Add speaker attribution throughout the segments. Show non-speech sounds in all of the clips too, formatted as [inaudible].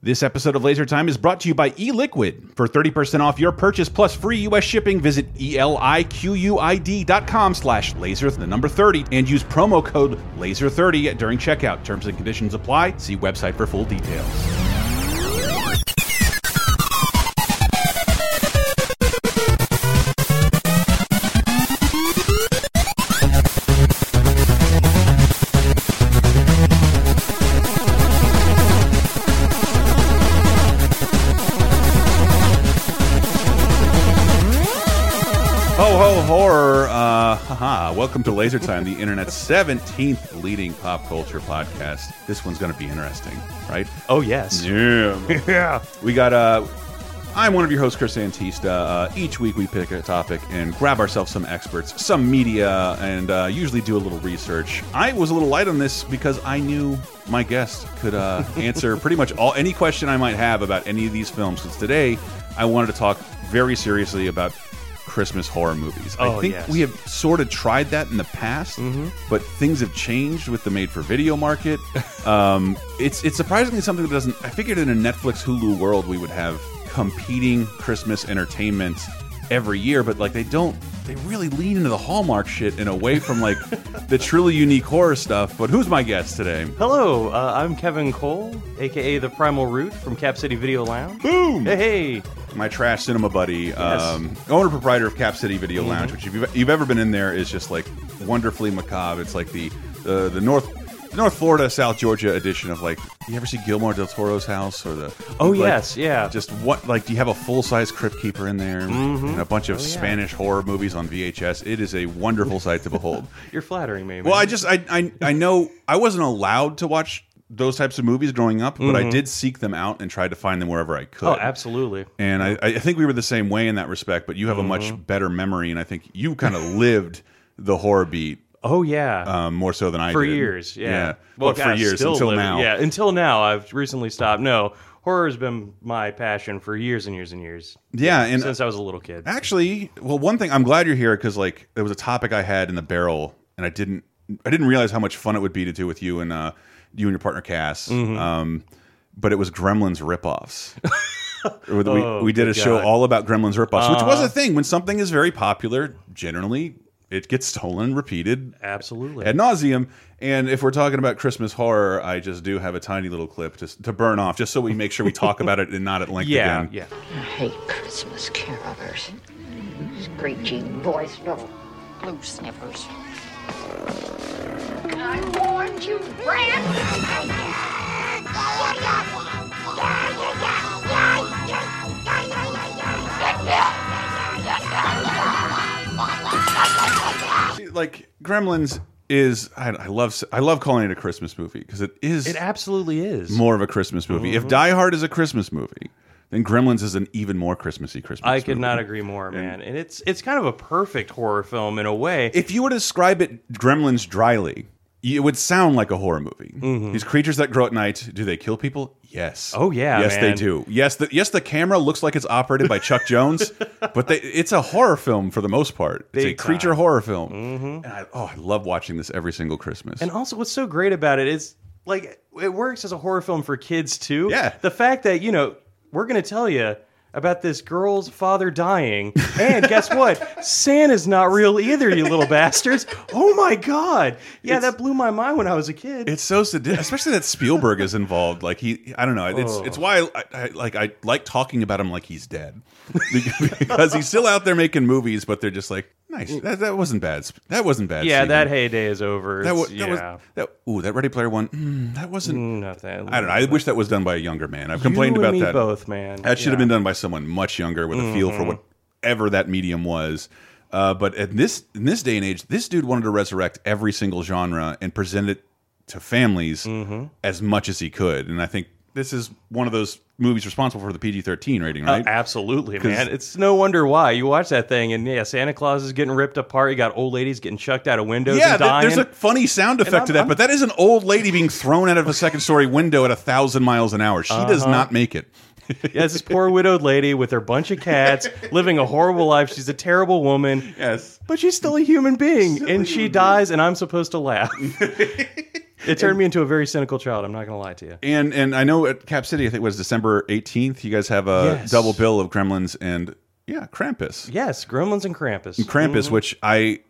Speaker 1: This episode of Laser Time is brought to you by eLiquid. For 30% off your purchase plus free U.S. shipping, visit E eliquid.com slash laser, the number 30, and use promo code LASER30 during checkout. Terms and conditions apply. See website for full details. Ho ho horror! Uh, haha! Welcome to Laser Time, the internet's seventeenth leading pop culture podcast. This one's going to be interesting, right?
Speaker 2: Oh yes.
Speaker 1: Yeah,
Speaker 2: Yeah.
Speaker 1: we got. Uh, I'm one of your hosts, Chris Antista. Uh, each week, we pick a topic and grab ourselves some experts, some media, and uh, usually do a little research. I was a little light on this because I knew my guest could
Speaker 2: [laughs]
Speaker 1: uh, answer pretty much all any question I might have about any of these films. Because today, I wanted to talk very seriously about Christmas horror movies. I
Speaker 2: Oh,
Speaker 1: think
Speaker 2: yes. Mm-hmm.
Speaker 1: we have sort of tried that in the past, but things have changed with the made-for-video market. um, it's it's surprisingly something that doesn't. I figured in a Netflix Hulu world we would have competing Christmas entertainment every year, but like they don't. They really lean into the Hallmark shit and away from like the truly unique horror stuff. But who's my guest today?
Speaker 2: Hello, uh, I'm Kevin Cole, aka the Primal Root from Cap City Video Lounge.
Speaker 1: Boom!
Speaker 2: Hey, hey.
Speaker 1: my trash cinema buddy, um, owner proprietor of Cap City Video
Speaker 2: Mm-hmm.
Speaker 1: Lounge, which if you've, you've ever been in there is just like wonderfully macabre. It's like the the, the North North Florida South Georgia edition of like you ever see Gilmore del Toro's house or the
Speaker 2: Oh,
Speaker 1: like,
Speaker 2: yes, yeah. Mm-hmm.
Speaker 1: just what like do you have a full size crypt keeper in there and a bunch of
Speaker 2: Oh,
Speaker 1: Spanish horror movies on VHS? It is a wonderful sight to behold.
Speaker 2: [laughs] You're flattering me. Man.
Speaker 1: Well, I just I, I I know I wasn't allowed to watch those types of movies growing up, but I did seek them out and tried to find them wherever I could.
Speaker 2: Mm-hmm. Oh, absolutely.
Speaker 1: And I, I think we were the same way in that respect, but you have a
Speaker 2: Mm-hmm.
Speaker 1: much better memory, and I think you kind of [laughs] lived the horror beat
Speaker 2: Oh yeah.
Speaker 1: um, more so than I
Speaker 2: for
Speaker 1: did.
Speaker 2: years, yeah.
Speaker 1: Well, for
Speaker 2: God,
Speaker 1: years
Speaker 2: still
Speaker 1: until
Speaker 2: living-
Speaker 1: now.
Speaker 2: Yeah, until now. I've recently stopped. No, horror has been my passion for years and years and years
Speaker 1: Yeah, and
Speaker 2: since I was a little kid.
Speaker 1: actually, well, one thing I'm glad you're here because like there was a topic I had in the barrel, and I didn't I didn't realize how much fun it would be to do with you and uh, you and your partner Cass.
Speaker 2: Mm-hmm.
Speaker 1: Um, but it was Gremlins
Speaker 2: [laughs]
Speaker 1: ripoffs. we, we, we did a
Speaker 2: Oh, good
Speaker 1: show
Speaker 2: God. Uh-huh.
Speaker 1: all about Gremlins ripoffs, which was a thing. When something is very popular, generally it gets stolen, repeated,
Speaker 2: Absolutely.
Speaker 1: ad nauseum. And if we're talking about Christmas horror, I just do have a tiny little clip to, to burn off, just so we make sure we talk about it and not at length
Speaker 2: [laughs] yeah,
Speaker 1: again.
Speaker 2: yeah.
Speaker 3: I hate Christmas carolers. Screeching voice, little blue snippers. I warned you, Brad!
Speaker 1: See, Like Gremlins is, I, I love, I love calling it a Christmas movie because it is
Speaker 2: It Mm-hmm. absolutely is.
Speaker 1: more of a Christmas movie. If Die Hard is a Christmas movie, then Gremlins is an even more Christmassy Christmas.
Speaker 2: I could
Speaker 1: movie.
Speaker 2: not agree more, man. And it's it's kind of a perfect horror film in a way.
Speaker 1: If you were to describe it, Gremlins dryly. It would sound like a horror movie. These creatures that grow at night, do they kill people? Yes.
Speaker 2: Mm-hmm. Oh, yeah,
Speaker 1: Yes, they
Speaker 2: man.
Speaker 1: do. Yes, the yes the camera looks like it's operated by Chuck
Speaker 2: [laughs]
Speaker 1: Jones, but they, it's a horror film for the most part. It's a
Speaker 2: Big time. Mm-hmm.
Speaker 1: creature horror film. And I, oh, I love watching this every single Christmas.
Speaker 2: And also, what's so great about it is like it works as a horror film for kids too.
Speaker 1: Yeah.
Speaker 2: The fact that you know we're gonna tell you about this girl's
Speaker 1: [laughs]
Speaker 2: father dying, and guess what? Santa's not real either, you little bastards. Oh my god! Yeah, that blew my mind when I was a kid.
Speaker 1: It's so sadistic, especially that Spielberg is involved. Like he, I don't know. It's it's
Speaker 2: Oh.
Speaker 1: why I, I like I like talking about him like he's dead because he's still out there making movies, but they're just like nice. That, that wasn't bad. Sp- That wasn't bad.
Speaker 2: yeah,
Speaker 1: Steven.
Speaker 2: that heyday is over.
Speaker 1: That, wa-
Speaker 2: It's-
Speaker 1: that
Speaker 2: yeah.
Speaker 1: was that. Ooh, that Ready Player One. mm, that wasn't.
Speaker 2: Nothing.
Speaker 1: I don't know. I wish that was done by a younger man. I've complained
Speaker 2: you
Speaker 1: about
Speaker 2: and me
Speaker 1: that.
Speaker 2: both, man.
Speaker 1: That should have been done by someone much younger with a feel for
Speaker 2: Mm-hmm.
Speaker 1: whatever that medium was. Uh, but in this in this day and age, this dude wanted to resurrect every single genre and present it to families
Speaker 2: Mm-hmm.
Speaker 1: as much as he could. And I think this is one of those movies responsible for the PG thirteen rating,
Speaker 2: Uh,
Speaker 1: right?
Speaker 2: Absolutely, man. It's no wonder why you watch that thing, and yeah, Santa Claus is getting ripped apart. You got old ladies getting chucked out of windows
Speaker 1: yeah,
Speaker 2: and
Speaker 1: th-
Speaker 2: dying.
Speaker 1: there's a funny sound effect
Speaker 2: I'm-
Speaker 1: to that,
Speaker 2: I'm-
Speaker 1: but that is an old lady being thrown out of a second story window at a thousand miles an hour. She does
Speaker 2: Uh-huh.
Speaker 1: not make it.
Speaker 2: Yeah, it's this poor widowed lady with her bunch of cats, living a horrible life. She's a terrible woman,
Speaker 1: Yes. [laughs]
Speaker 2: but she's still a human being, and she dies, and I'm supposed to laugh. It turned me into a very cynical child. I'm not going to lie to you.
Speaker 1: And and I know at Cap City, I think it was December 18th. You guys have a
Speaker 2: Yes.
Speaker 1: double bill of Gremlins and yeah, Krampus.
Speaker 2: Yes, Gremlins and Krampus.
Speaker 1: Krampus, which I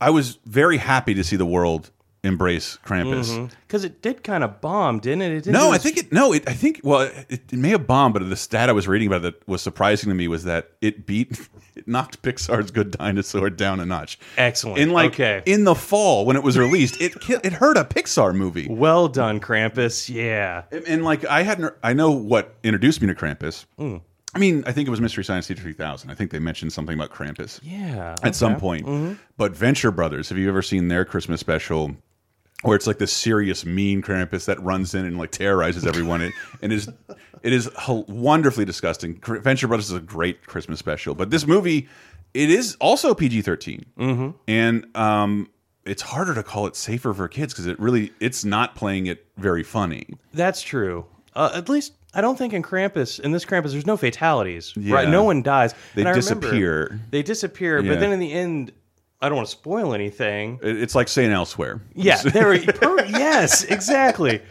Speaker 1: I was very happy to see the world embrace Krampus.
Speaker 2: Because Mm-hmm. it did kind of bomb, didn't it? it didn't
Speaker 1: No,
Speaker 2: do
Speaker 1: I
Speaker 2: as-
Speaker 1: think it. No, it, I think. Well, it, it may have bombed, but the stat I was reading about that was surprising to me was that it beat, [laughs] it knocked Pixar's Good Dinosaur down a notch.
Speaker 2: Excellent.
Speaker 1: In like
Speaker 2: Okay.
Speaker 1: in the fall when it was released, it ki- it hurt a Pixar movie.
Speaker 2: Well done, Krampus. Yeah.
Speaker 1: And, and, like I hadn't. I know what introduced me to Krampus. I mean, I think it was Mystery Science Theater 3000. I think they mentioned something about Krampus
Speaker 2: Yeah.
Speaker 1: at some point. But Venture Brothers, have you ever seen their Christmas special? Where it's like this serious, mean Krampus that runs in and like terrorizes everyone, it, and is it is hel- wonderfully disgusting. Cr- Venture Brothers is a great Christmas special, but this movie, it is also PG 13 and um, it's harder to call it safer for kids because it really it's not playing it very funny.
Speaker 2: That's true. Uh, at least I don't think in Krampus, in this Krampus, there's no fatalities.
Speaker 1: Yeah.
Speaker 2: Right? No one dies.
Speaker 1: They
Speaker 2: And I remember-
Speaker 1: disappear.
Speaker 2: they disappear,
Speaker 1: Yeah.
Speaker 2: but then in the end, I don't want to
Speaker 1: [laughs]
Speaker 2: spoil anything.
Speaker 1: It- It's like saying elsewhere.
Speaker 2: Yeah, there. we- per- yes, exactly.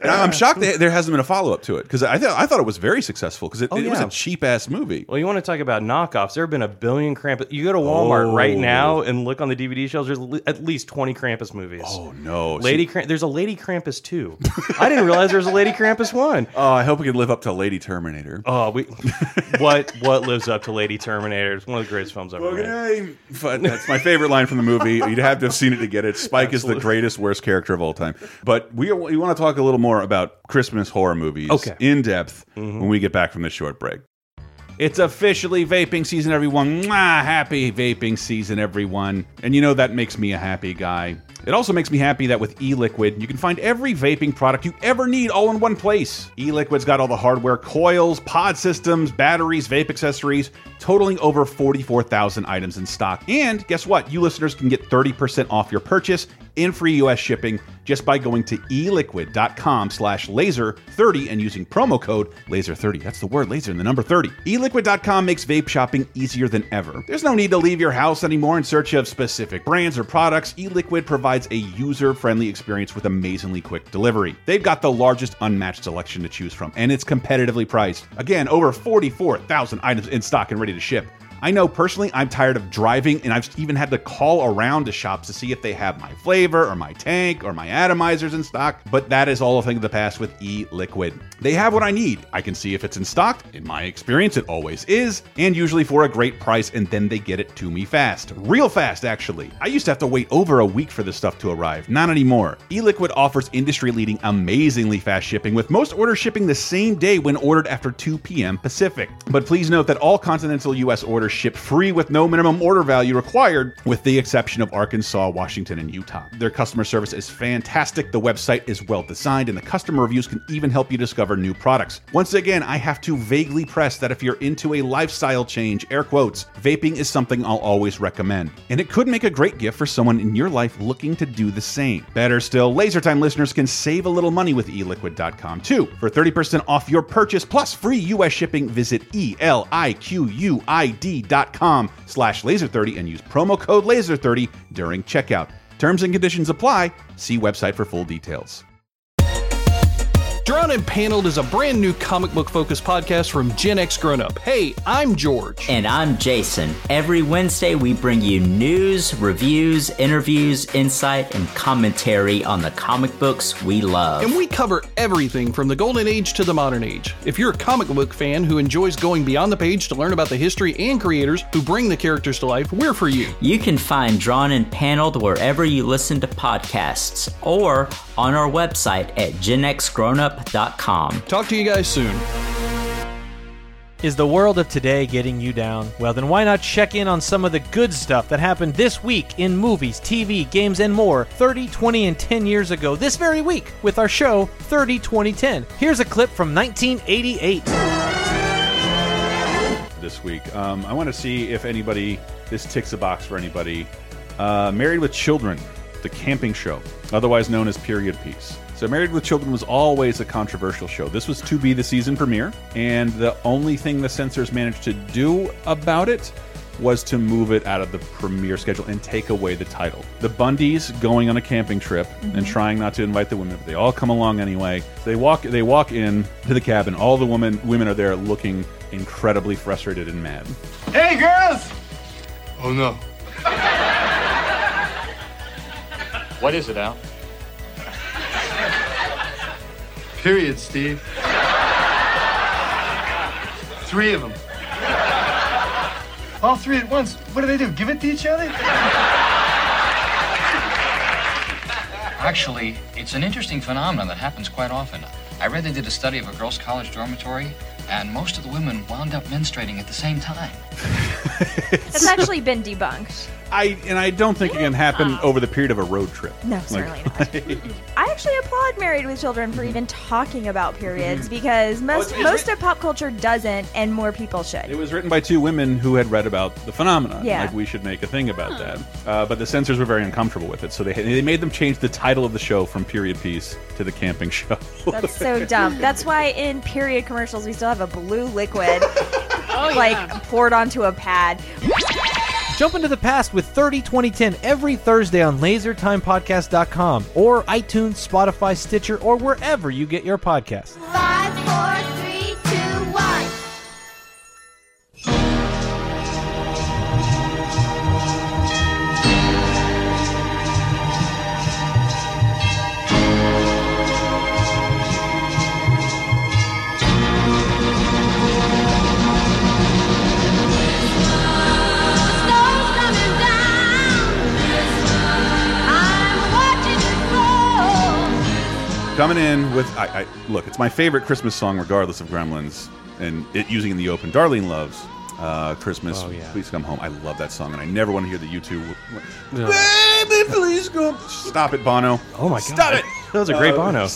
Speaker 1: And I- I'm shocked that there hasn't been a follow up to it because I thought I thought it was very successful because it, it was
Speaker 2: Oh, yeah.
Speaker 1: a cheap ass movie.
Speaker 2: Well, you want to talk about knockoffs? There have been a billion Krampus. You go to Walmart right
Speaker 1: Oh.
Speaker 2: now and look on the DVD shelves. There's le- at least twenty Krampus movies.
Speaker 1: Oh no, See,
Speaker 2: Lady Kramp- there's a Lady
Speaker 1: [laughs]
Speaker 2: Krampus two. I didn't realize there was a Lady Krampus one.
Speaker 1: Oh, I hope we can live up to Lady Terminator. [laughs]
Speaker 2: Oh, we what what lives up to Lady Terminator? It's one of the greatest films ever. made.
Speaker 1: But that's my favorite line from the
Speaker 2: [laughs]
Speaker 1: movie. You'd have to have seen it to get it. Spike is the greatest, worst character of all time. But we, we want to talk a little more about Christmas horror movies
Speaker 2: Okay. Mm-hmm.
Speaker 1: in depth when we get back from this short break. It's officially vaping season, everyone. Mwah, happy vaping season, everyone. And you know that makes me a happy guy. It also makes me happy that with e-liquid, you can find every vaping product you ever need all in one place. E-liquid's got all the hardware, coils, pod systems, batteries, vape accessories, totaling over 44,000 items in stock. And guess what? You listeners can get 30% off your purchase in free US shipping just by going to eliquid.com slash laser30 and using promo code laser30. That's the word laser and the number 30. Eliquid.com makes vape shopping easier than ever. There's no need to leave your house anymore in search of specific brands or products. Eliquid provides a user-friendly experience with amazingly quick delivery. They've got the largest unmatched selection to choose from, and it's competitively priced. Again, over 44,000 items in stock and ready to ship. I know personally, I'm tired of driving, and I've even had to call around to shops to see if they have my flavor or my tank or my atomizers in stock. But that is all a thing of the past with E Liquid. They have what I need. I can see if it's in stock. In my experience, it always is, and usually for a great price, and then they get it to me fast. Real fast, actually. I used to have to wait over a week for this stuff to arrive. Not anymore. E Liquid offers industry leading, amazingly fast shipping, with most orders shipping the same day when ordered after 2 p.m. Pacific. But please note that all continental U.S. orders ship free with no minimum order value required, with the exception of Arkansas, Washington, and Utah. Their customer service is fantastic, the website is well designed, and the customer reviews can even help you discover new products. Once again, I have to vaguely press that if you're into a lifestyle change, air quotes, vaping is something I'll always recommend. And it could make a great gift for someone in your life looking to do the same. Better still, LaserTime listeners can save a little money with eliquid.com too. For 30% off your purchase plus free U.S. shipping, visit E E-L-I-Q-U-I-D.com slash laser30 and use promo code laser30 during checkout. Terms and conditions apply. See website for full details.
Speaker 4: Drawn and Paneled is a brand new comic book focused podcast from Gen X Grown Up. Hey, I'm George.
Speaker 5: And I'm Jason. Every Wednesday, we bring you news, reviews, interviews, insight, and commentary on the comic books we love.
Speaker 4: And we cover everything from the Golden Age to the Modern Age. If you're a comic book fan who enjoys going beyond the page to learn about the history and creators who bring the characters to life, we're for you.
Speaker 5: You can find Drawn and Paneled wherever you listen to podcasts or on our website at genxgrownup.com.
Speaker 4: Talk to you guys soon.
Speaker 6: Is the world of today getting you down? Well, then why not check in on some of the good stuff that happened this week in movies, TV, games, and more 30, 20, and 10 years ago this very week with our show 30, 20, 10. Here's a clip from 1988.
Speaker 1: this week. Um, I want to see if anybody this ticks a box for anybody. Uh, Married with Children, the camping show, otherwise known as period piece. So, Married with Children was always a controversial show. This was to be the season premiere, and the only thing the censors managed to do about it was to move it out of the premiere schedule and take away the title. The Bundys going on a camping trip
Speaker 7: Mm-hmm.
Speaker 1: and trying not to invite the women, but they all come along anyway. They walk they walk in to the cabin. All the women women are there looking incredibly frustrated and mad.
Speaker 8: Hey, girls! Oh, no.
Speaker 9: What is it, Al?
Speaker 8: Period, Steve. Three of them. All three at once. What do they do? Give it to each other?
Speaker 9: Actually, it's an interesting phenomenon that happens quite often. I read they did a study of a girls' college dormitory, and most of the women wound up menstruating at the same time.
Speaker 7: That's actually been debunked.
Speaker 1: I and I don't think it can happen over the period of a road trip.
Speaker 7: No,
Speaker 1: Like,
Speaker 7: certainly
Speaker 1: [laughs]
Speaker 7: not. I actually applaud Married with Children for even talking about periods because most
Speaker 1: Mm-hmm. Oh, it's
Speaker 7: most
Speaker 1: writ-
Speaker 7: of pop culture doesn't, and more people
Speaker 1: It
Speaker 7: should.
Speaker 1: was written by two women who had read about the phenomenon.
Speaker 7: Yeah.
Speaker 1: Like, we should make a thing about that. Uh, but the censors were very uncomfortable with it, so they, they made them change the title of the show from Period Piece to The Camping [laughs] Show.
Speaker 7: That's so dumb. That's why in period commercials we still have a blue liquid like poured onto a pad.
Speaker 6: Jump into the past with 30 2010 every Thursday on lasertimepodcast.com or iTunes, Spotify, Stitcher, or wherever you get your podcasts.
Speaker 10: Five, four, three, two, one. Snow's coming down. I'm watching it fall.
Speaker 1: Coming in with, I, I look, it's my favorite Christmas song, regardless of Gremlins, and it using it in the open. Darlene loves uh, Christmas.
Speaker 2: Oh,
Speaker 1: Please come home. I love that song, and I never want to hear the U2. w- Baby, please come. Stop it, Bono.
Speaker 2: Oh my god.
Speaker 1: Stop it. Uh,
Speaker 2: That was a great
Speaker 1: [laughs]
Speaker 2: Bono.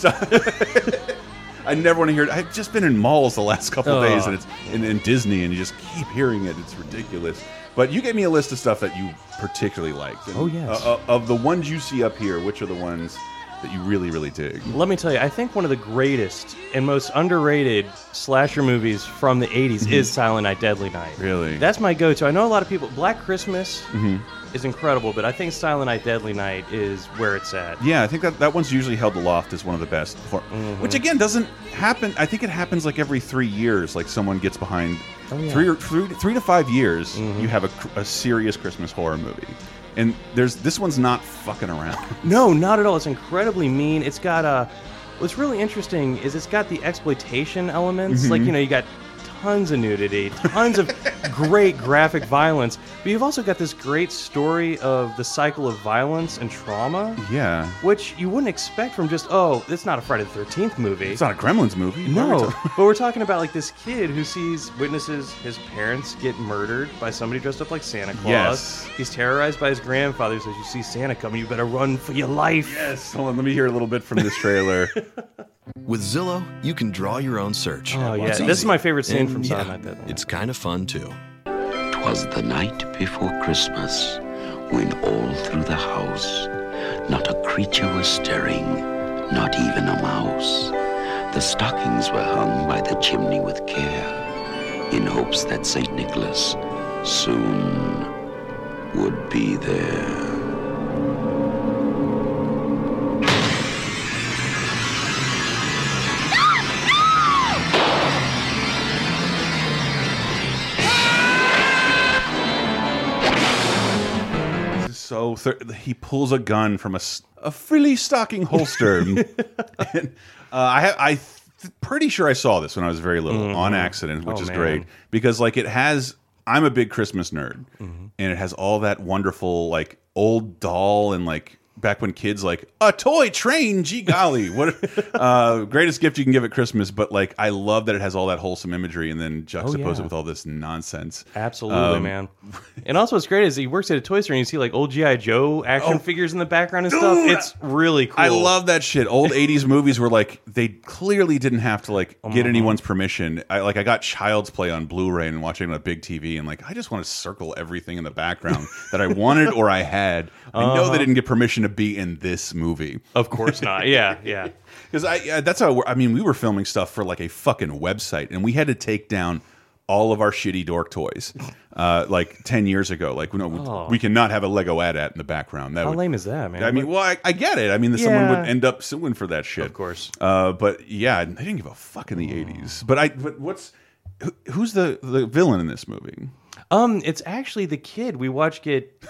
Speaker 1: I never want to hear it. I've just been in malls the last couple of
Speaker 2: Ugh.
Speaker 1: days, and it's in, in Disney, and you just keep hearing it. It's ridiculous. But you gave me a list of stuff that you particularly liked. And,
Speaker 2: Oh, yes.
Speaker 1: uh, uh, of the ones you see up here, which are the ones that you really, really dig?
Speaker 2: Let me tell you, I think one of the greatest and most underrated slasher movies from the 80s is Silent Night, Deadly Night.
Speaker 1: Really?
Speaker 2: That's my go to. I know a lot of people, Black Christmas is incredible, but I think Silent Night, Deadly Night is where it's at.
Speaker 1: yeah, I think that that one's usually held aloft as one of the best. For, Which again doesn't happen. I think it happens like every three years. Like someone gets behind three or three, three to five years, you have a, cr- a serious Christmas horror movie, and there's this one's not fucking around. [laughs]
Speaker 2: No, not at all. It's incredibly mean. It's got a. What's really interesting is it's got the exploitation elements. Like you know, you got tons of nudity, tons of great graphic violence, but you've also got this great story of the cycle of violence and trauma,
Speaker 1: yeah.
Speaker 2: which you wouldn't expect from just oh, it's not a Friday the Thirteenth movie.
Speaker 1: It's not a Gremlins movie. Why are we
Speaker 2: no,
Speaker 1: talking-
Speaker 2: [laughs] but we're talking about like this kid who sees witnesses his parents get murdered by somebody dressed up like Santa Claus.
Speaker 1: Yes.
Speaker 2: He's terrorized by his grandfather. He says, "You see Santa coming, you better run for your life."
Speaker 1: Yes. [laughs] Hold on. Let me hear a little bit from this trailer.
Speaker 11: With Zillow, you can draw your own search.
Speaker 2: Oh, yeah.
Speaker 11: It's
Speaker 2: This is
Speaker 11: easy.
Speaker 2: my favorite scene
Speaker 11: And,
Speaker 2: from
Speaker 11: yeah,
Speaker 2: Silent Night, Deadly Night.
Speaker 11: It's kind of fun, too.
Speaker 9: Twas the night before Christmas when all through the house not a creature was stirring, not even a mouse. The stockings were hung by the chimney with care in hopes that St. Nicholas soon would be there.
Speaker 1: This is so thir he pulls a gun from a, s- a frilly stocking
Speaker 2: [laughs]
Speaker 1: holster. and, uh, I ha I th pretty sure I saw this when I was very little on accident, which
Speaker 2: Oh,
Speaker 1: is
Speaker 2: man.
Speaker 1: great because like it has. I'm a big Christmas nerd,
Speaker 2: Mm-hmm.
Speaker 1: and it has all that wonderful like old doll and like back when kids like a toy train. Gee golly, what [laughs] uh, greatest gift you can give at Christmas! But like I love that it has all that wholesome imagery and then juxtapose it
Speaker 2: Oh, yeah.
Speaker 1: with all this nonsense.
Speaker 2: Absolutely,
Speaker 1: Um, [laughs]
Speaker 2: man. And also, what's great is he works at a toy store and you see like old GI Joe action figures in the background and stuff.
Speaker 1: Oh. Dude!
Speaker 2: It's really cool.
Speaker 1: I love that shit.
Speaker 2: [laughs]
Speaker 1: Old '80s movies were like they clearly didn't have to like
Speaker 2: Uh-huh.
Speaker 1: get anyone's permission. I like I got Child's Play on Blu-ray and watching it on a big TV, and like I just want to circle everything in the
Speaker 2: [laughs]
Speaker 1: background that I wanted or I had. I know
Speaker 2: Uh-huh.
Speaker 1: they didn't get permission to be in this movie
Speaker 2: Of course
Speaker 1: [laughs]
Speaker 2: not. Yeah, yeah.
Speaker 1: because I yeah, that's how we're, I mean we were filming stuff for like a fucking website, and we had to take down all of our shitty dork
Speaker 2: [laughs]
Speaker 1: toys, uh, like ten years ago. Like no, we,
Speaker 2: Oh.
Speaker 1: we cannot have a Lego ad at in the background. That
Speaker 2: How
Speaker 1: would-
Speaker 2: lame is that, man?
Speaker 1: I mean, well, I, I get it. I mean, that someone would
Speaker 2: Yeah.
Speaker 1: end up suing for that shit, of
Speaker 2: course. Mm.
Speaker 1: Uh, but yeah, they didn't give a fuck in the eighties. But I, but what's who, who's the the villain in this movie?
Speaker 2: Um, it's actually the kid we watch get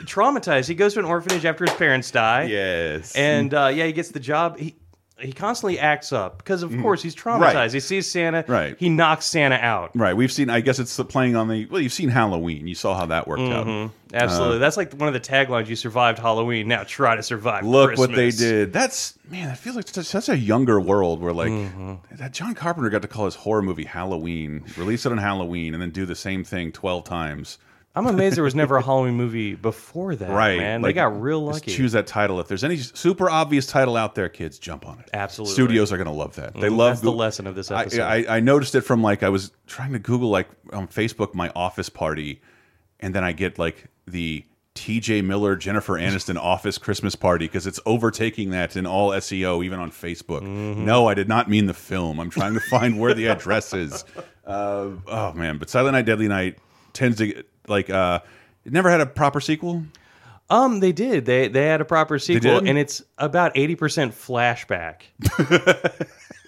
Speaker 2: traumatized. He goes to an orphanage after his parents die.
Speaker 1: Yes.
Speaker 2: And uh, yeah, he gets the job. He he constantly acts up because of course he's traumatized.
Speaker 1: Mm-hmm. Right.
Speaker 2: He sees Santa.
Speaker 1: Right.
Speaker 2: He knocks Santa out.
Speaker 1: Right. We've seen. I guess it's the playing on the. Well, you've seen Halloween. You saw how that worked
Speaker 2: Mm-hmm.
Speaker 1: out.
Speaker 2: Absolutely.
Speaker 1: Uh,
Speaker 2: That's like one of the taglines. You survived Halloween. Now try to survive.
Speaker 1: look what they
Speaker 2: Christmas."
Speaker 1: did. That's man. That feels like such, such a younger world where like
Speaker 2: Mm-hmm.
Speaker 1: that. John Carpenter got to call his horror movie Halloween, release it on Halloween, and then do the same thing twelve times.
Speaker 2: I'm amazed there was
Speaker 1: [laughs]
Speaker 2: never a Halloween movie before that.
Speaker 1: right,
Speaker 2: man. they got real
Speaker 1: just
Speaker 2: lucky.
Speaker 1: Choose that title. If there's any super obvious title out there, kids, jump on it.
Speaker 2: Absolutely.
Speaker 1: Studios are going to love that. They
Speaker 2: Mhm.
Speaker 1: love
Speaker 2: That's the lesson of this
Speaker 1: I-
Speaker 2: episode.
Speaker 1: I, I, noticed it from like I was trying to Google like on Facebook my office party, and then I get like the T.J. Miller Jennifer Aniston
Speaker 2: [laughs]
Speaker 1: office Christmas party because it's overtaking that in all SEO even on Facebook.
Speaker 2: Mm-hmm.
Speaker 1: No, I did not mean the film. I'm trying to find where the address
Speaker 2: [laughs]
Speaker 1: is. Uh, oh man, but Silent Night Deadly Night tends to get, like uh, it never had a proper sequel.
Speaker 2: Um, they did. They they had a proper sequel,
Speaker 1: did?
Speaker 2: and it's about eighty percent
Speaker 1: [laughs]
Speaker 2: flashback,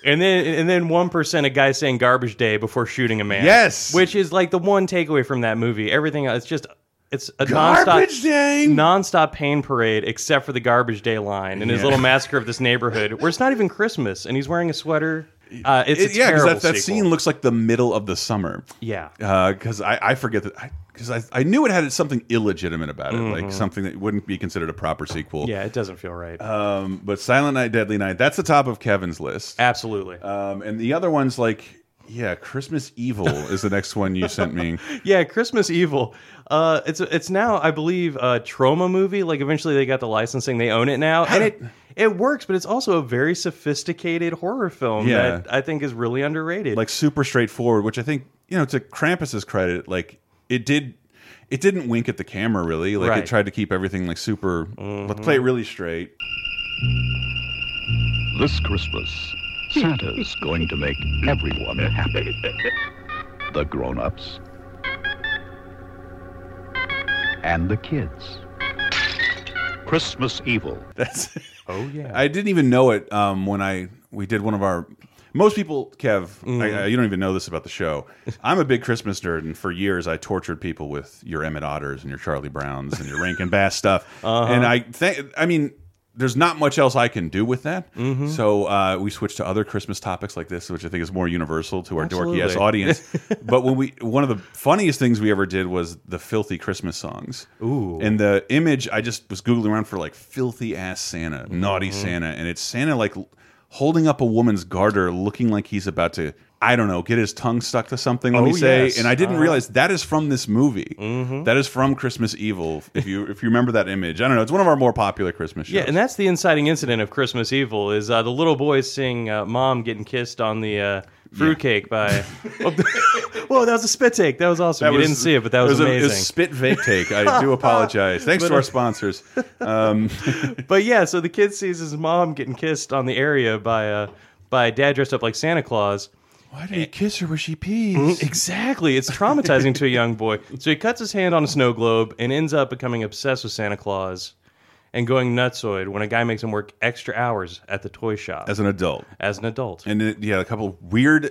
Speaker 2: and then and then one percent a guy saying "garbage day" before shooting a man.
Speaker 1: Yes.
Speaker 2: which is like the one takeaway from that movie. Everything else, it's just it's a
Speaker 1: Garbage
Speaker 2: nonstop
Speaker 1: day!
Speaker 2: nonstop pain parade, except for the garbage day line and his
Speaker 1: Yeah.
Speaker 2: little massacre of this neighborhood, where it's not even Christmas, and he's wearing a sweater. Uh, it's
Speaker 1: It-
Speaker 2: a
Speaker 1: yeah,
Speaker 2: terrible
Speaker 1: that, that
Speaker 2: sequel.
Speaker 1: scene looks like the middle of the summer.
Speaker 2: Yeah.
Speaker 1: because I, I forget that because I, I knew it had something illegitimate about it, like something that wouldn't be considered a proper sequel.
Speaker 2: Mm-hmm. Yeah, it doesn't feel right.
Speaker 1: Um, but Silent Night, Deadly Night, that's the top of Kevin's list.
Speaker 2: Absolutely.
Speaker 1: Um, and the other one's like, yeah, Christmas
Speaker 2: [laughs]
Speaker 1: Evil is the next one you sent me.
Speaker 2: Yeah, Christmas Evil. Uh, it's it's now I believe a trauma movie. Like eventually they got the licensing, they own it now, and it it works. But it's also a very sophisticated horror film
Speaker 1: Yeah.
Speaker 2: that I think is really underrated.
Speaker 1: Like super straightforward, which I think you know to Krampus's credit, like it did. It didn't wink at the camera really. Like it
Speaker 2: Right. Mm-hmm.
Speaker 1: tried to keep everything like super. Let's play it really straight.
Speaker 9: This Christmas, Santa's going to make everyone happy. The grown-ups and the kids. Christmas Evil.
Speaker 1: That's
Speaker 2: oh yeah,
Speaker 1: I didn't even know it um, when I we did one of our. Most people, Kev, I, I,
Speaker 2: Mm-hmm.
Speaker 1: you don't even know this about the
Speaker 2: [laughs]
Speaker 1: show. I'm a big Christmas nerd, and for years I tortured people with your Emmett Otters and your Charlie Browns and your Rankin Bass stuff.
Speaker 2: Uh-huh.
Speaker 1: And I, th I mean, there's not much else I can do with that.
Speaker 2: Mm-hmm.
Speaker 1: So uh, we switched to other Christmas topics like this, which I think is more universal to our dorky ass
Speaker 2: Absolutely.
Speaker 1: audience.
Speaker 2: [laughs]
Speaker 1: but when we, one of the funniest things we ever did was the filthy Christmas songs.
Speaker 2: Ooh.
Speaker 1: And the image, I just was googling around for like filthy ass Santa, naughty
Speaker 2: Mm-hmm.
Speaker 1: Santa, and it's Santa like l- holding up a woman's garter, looking like he's about to, I don't know, get his tongue stuck to something. Let
Speaker 2: Oh,
Speaker 1: me say,
Speaker 2: yes.
Speaker 1: and I didn't
Speaker 2: Uh-huh. Mm-hmm.
Speaker 1: realize that is from this movie. That is from Christmas Evil. If you if you remember that image, I don't know, it's one of our more popular Christmas shows.
Speaker 2: yeah, and that's the inciting incident of Christmas Evil is uh, the little boys seeing uh, mom getting kissed on the uh,
Speaker 1: [laughs]
Speaker 2: fruitcake by. Whoa, that was a spit take. That was awesome.
Speaker 1: That
Speaker 2: you
Speaker 1: was-
Speaker 2: didn't see it, but that was,
Speaker 1: a- it
Speaker 2: amazing.
Speaker 1: a spit vape take. I
Speaker 2: [laughs]
Speaker 1: do apologize. Thanks to our sponsors. Um,
Speaker 2: But yeah, so the kid sees his mom getting kissed on the area by uh, by a dad dressed up like Santa Claus.
Speaker 1: why did he kiss her when she pees?
Speaker 2: Exactly. It's traumatizing to a young boy. So he cuts his hand on a snow globe and ends up becoming obsessed with Santa Claus and going nutsoid when a guy makes him work extra hours at the toy shop
Speaker 1: As
Speaker 2: as,
Speaker 1: an adult,
Speaker 2: an adult.
Speaker 1: And it, yeah, a couple weird,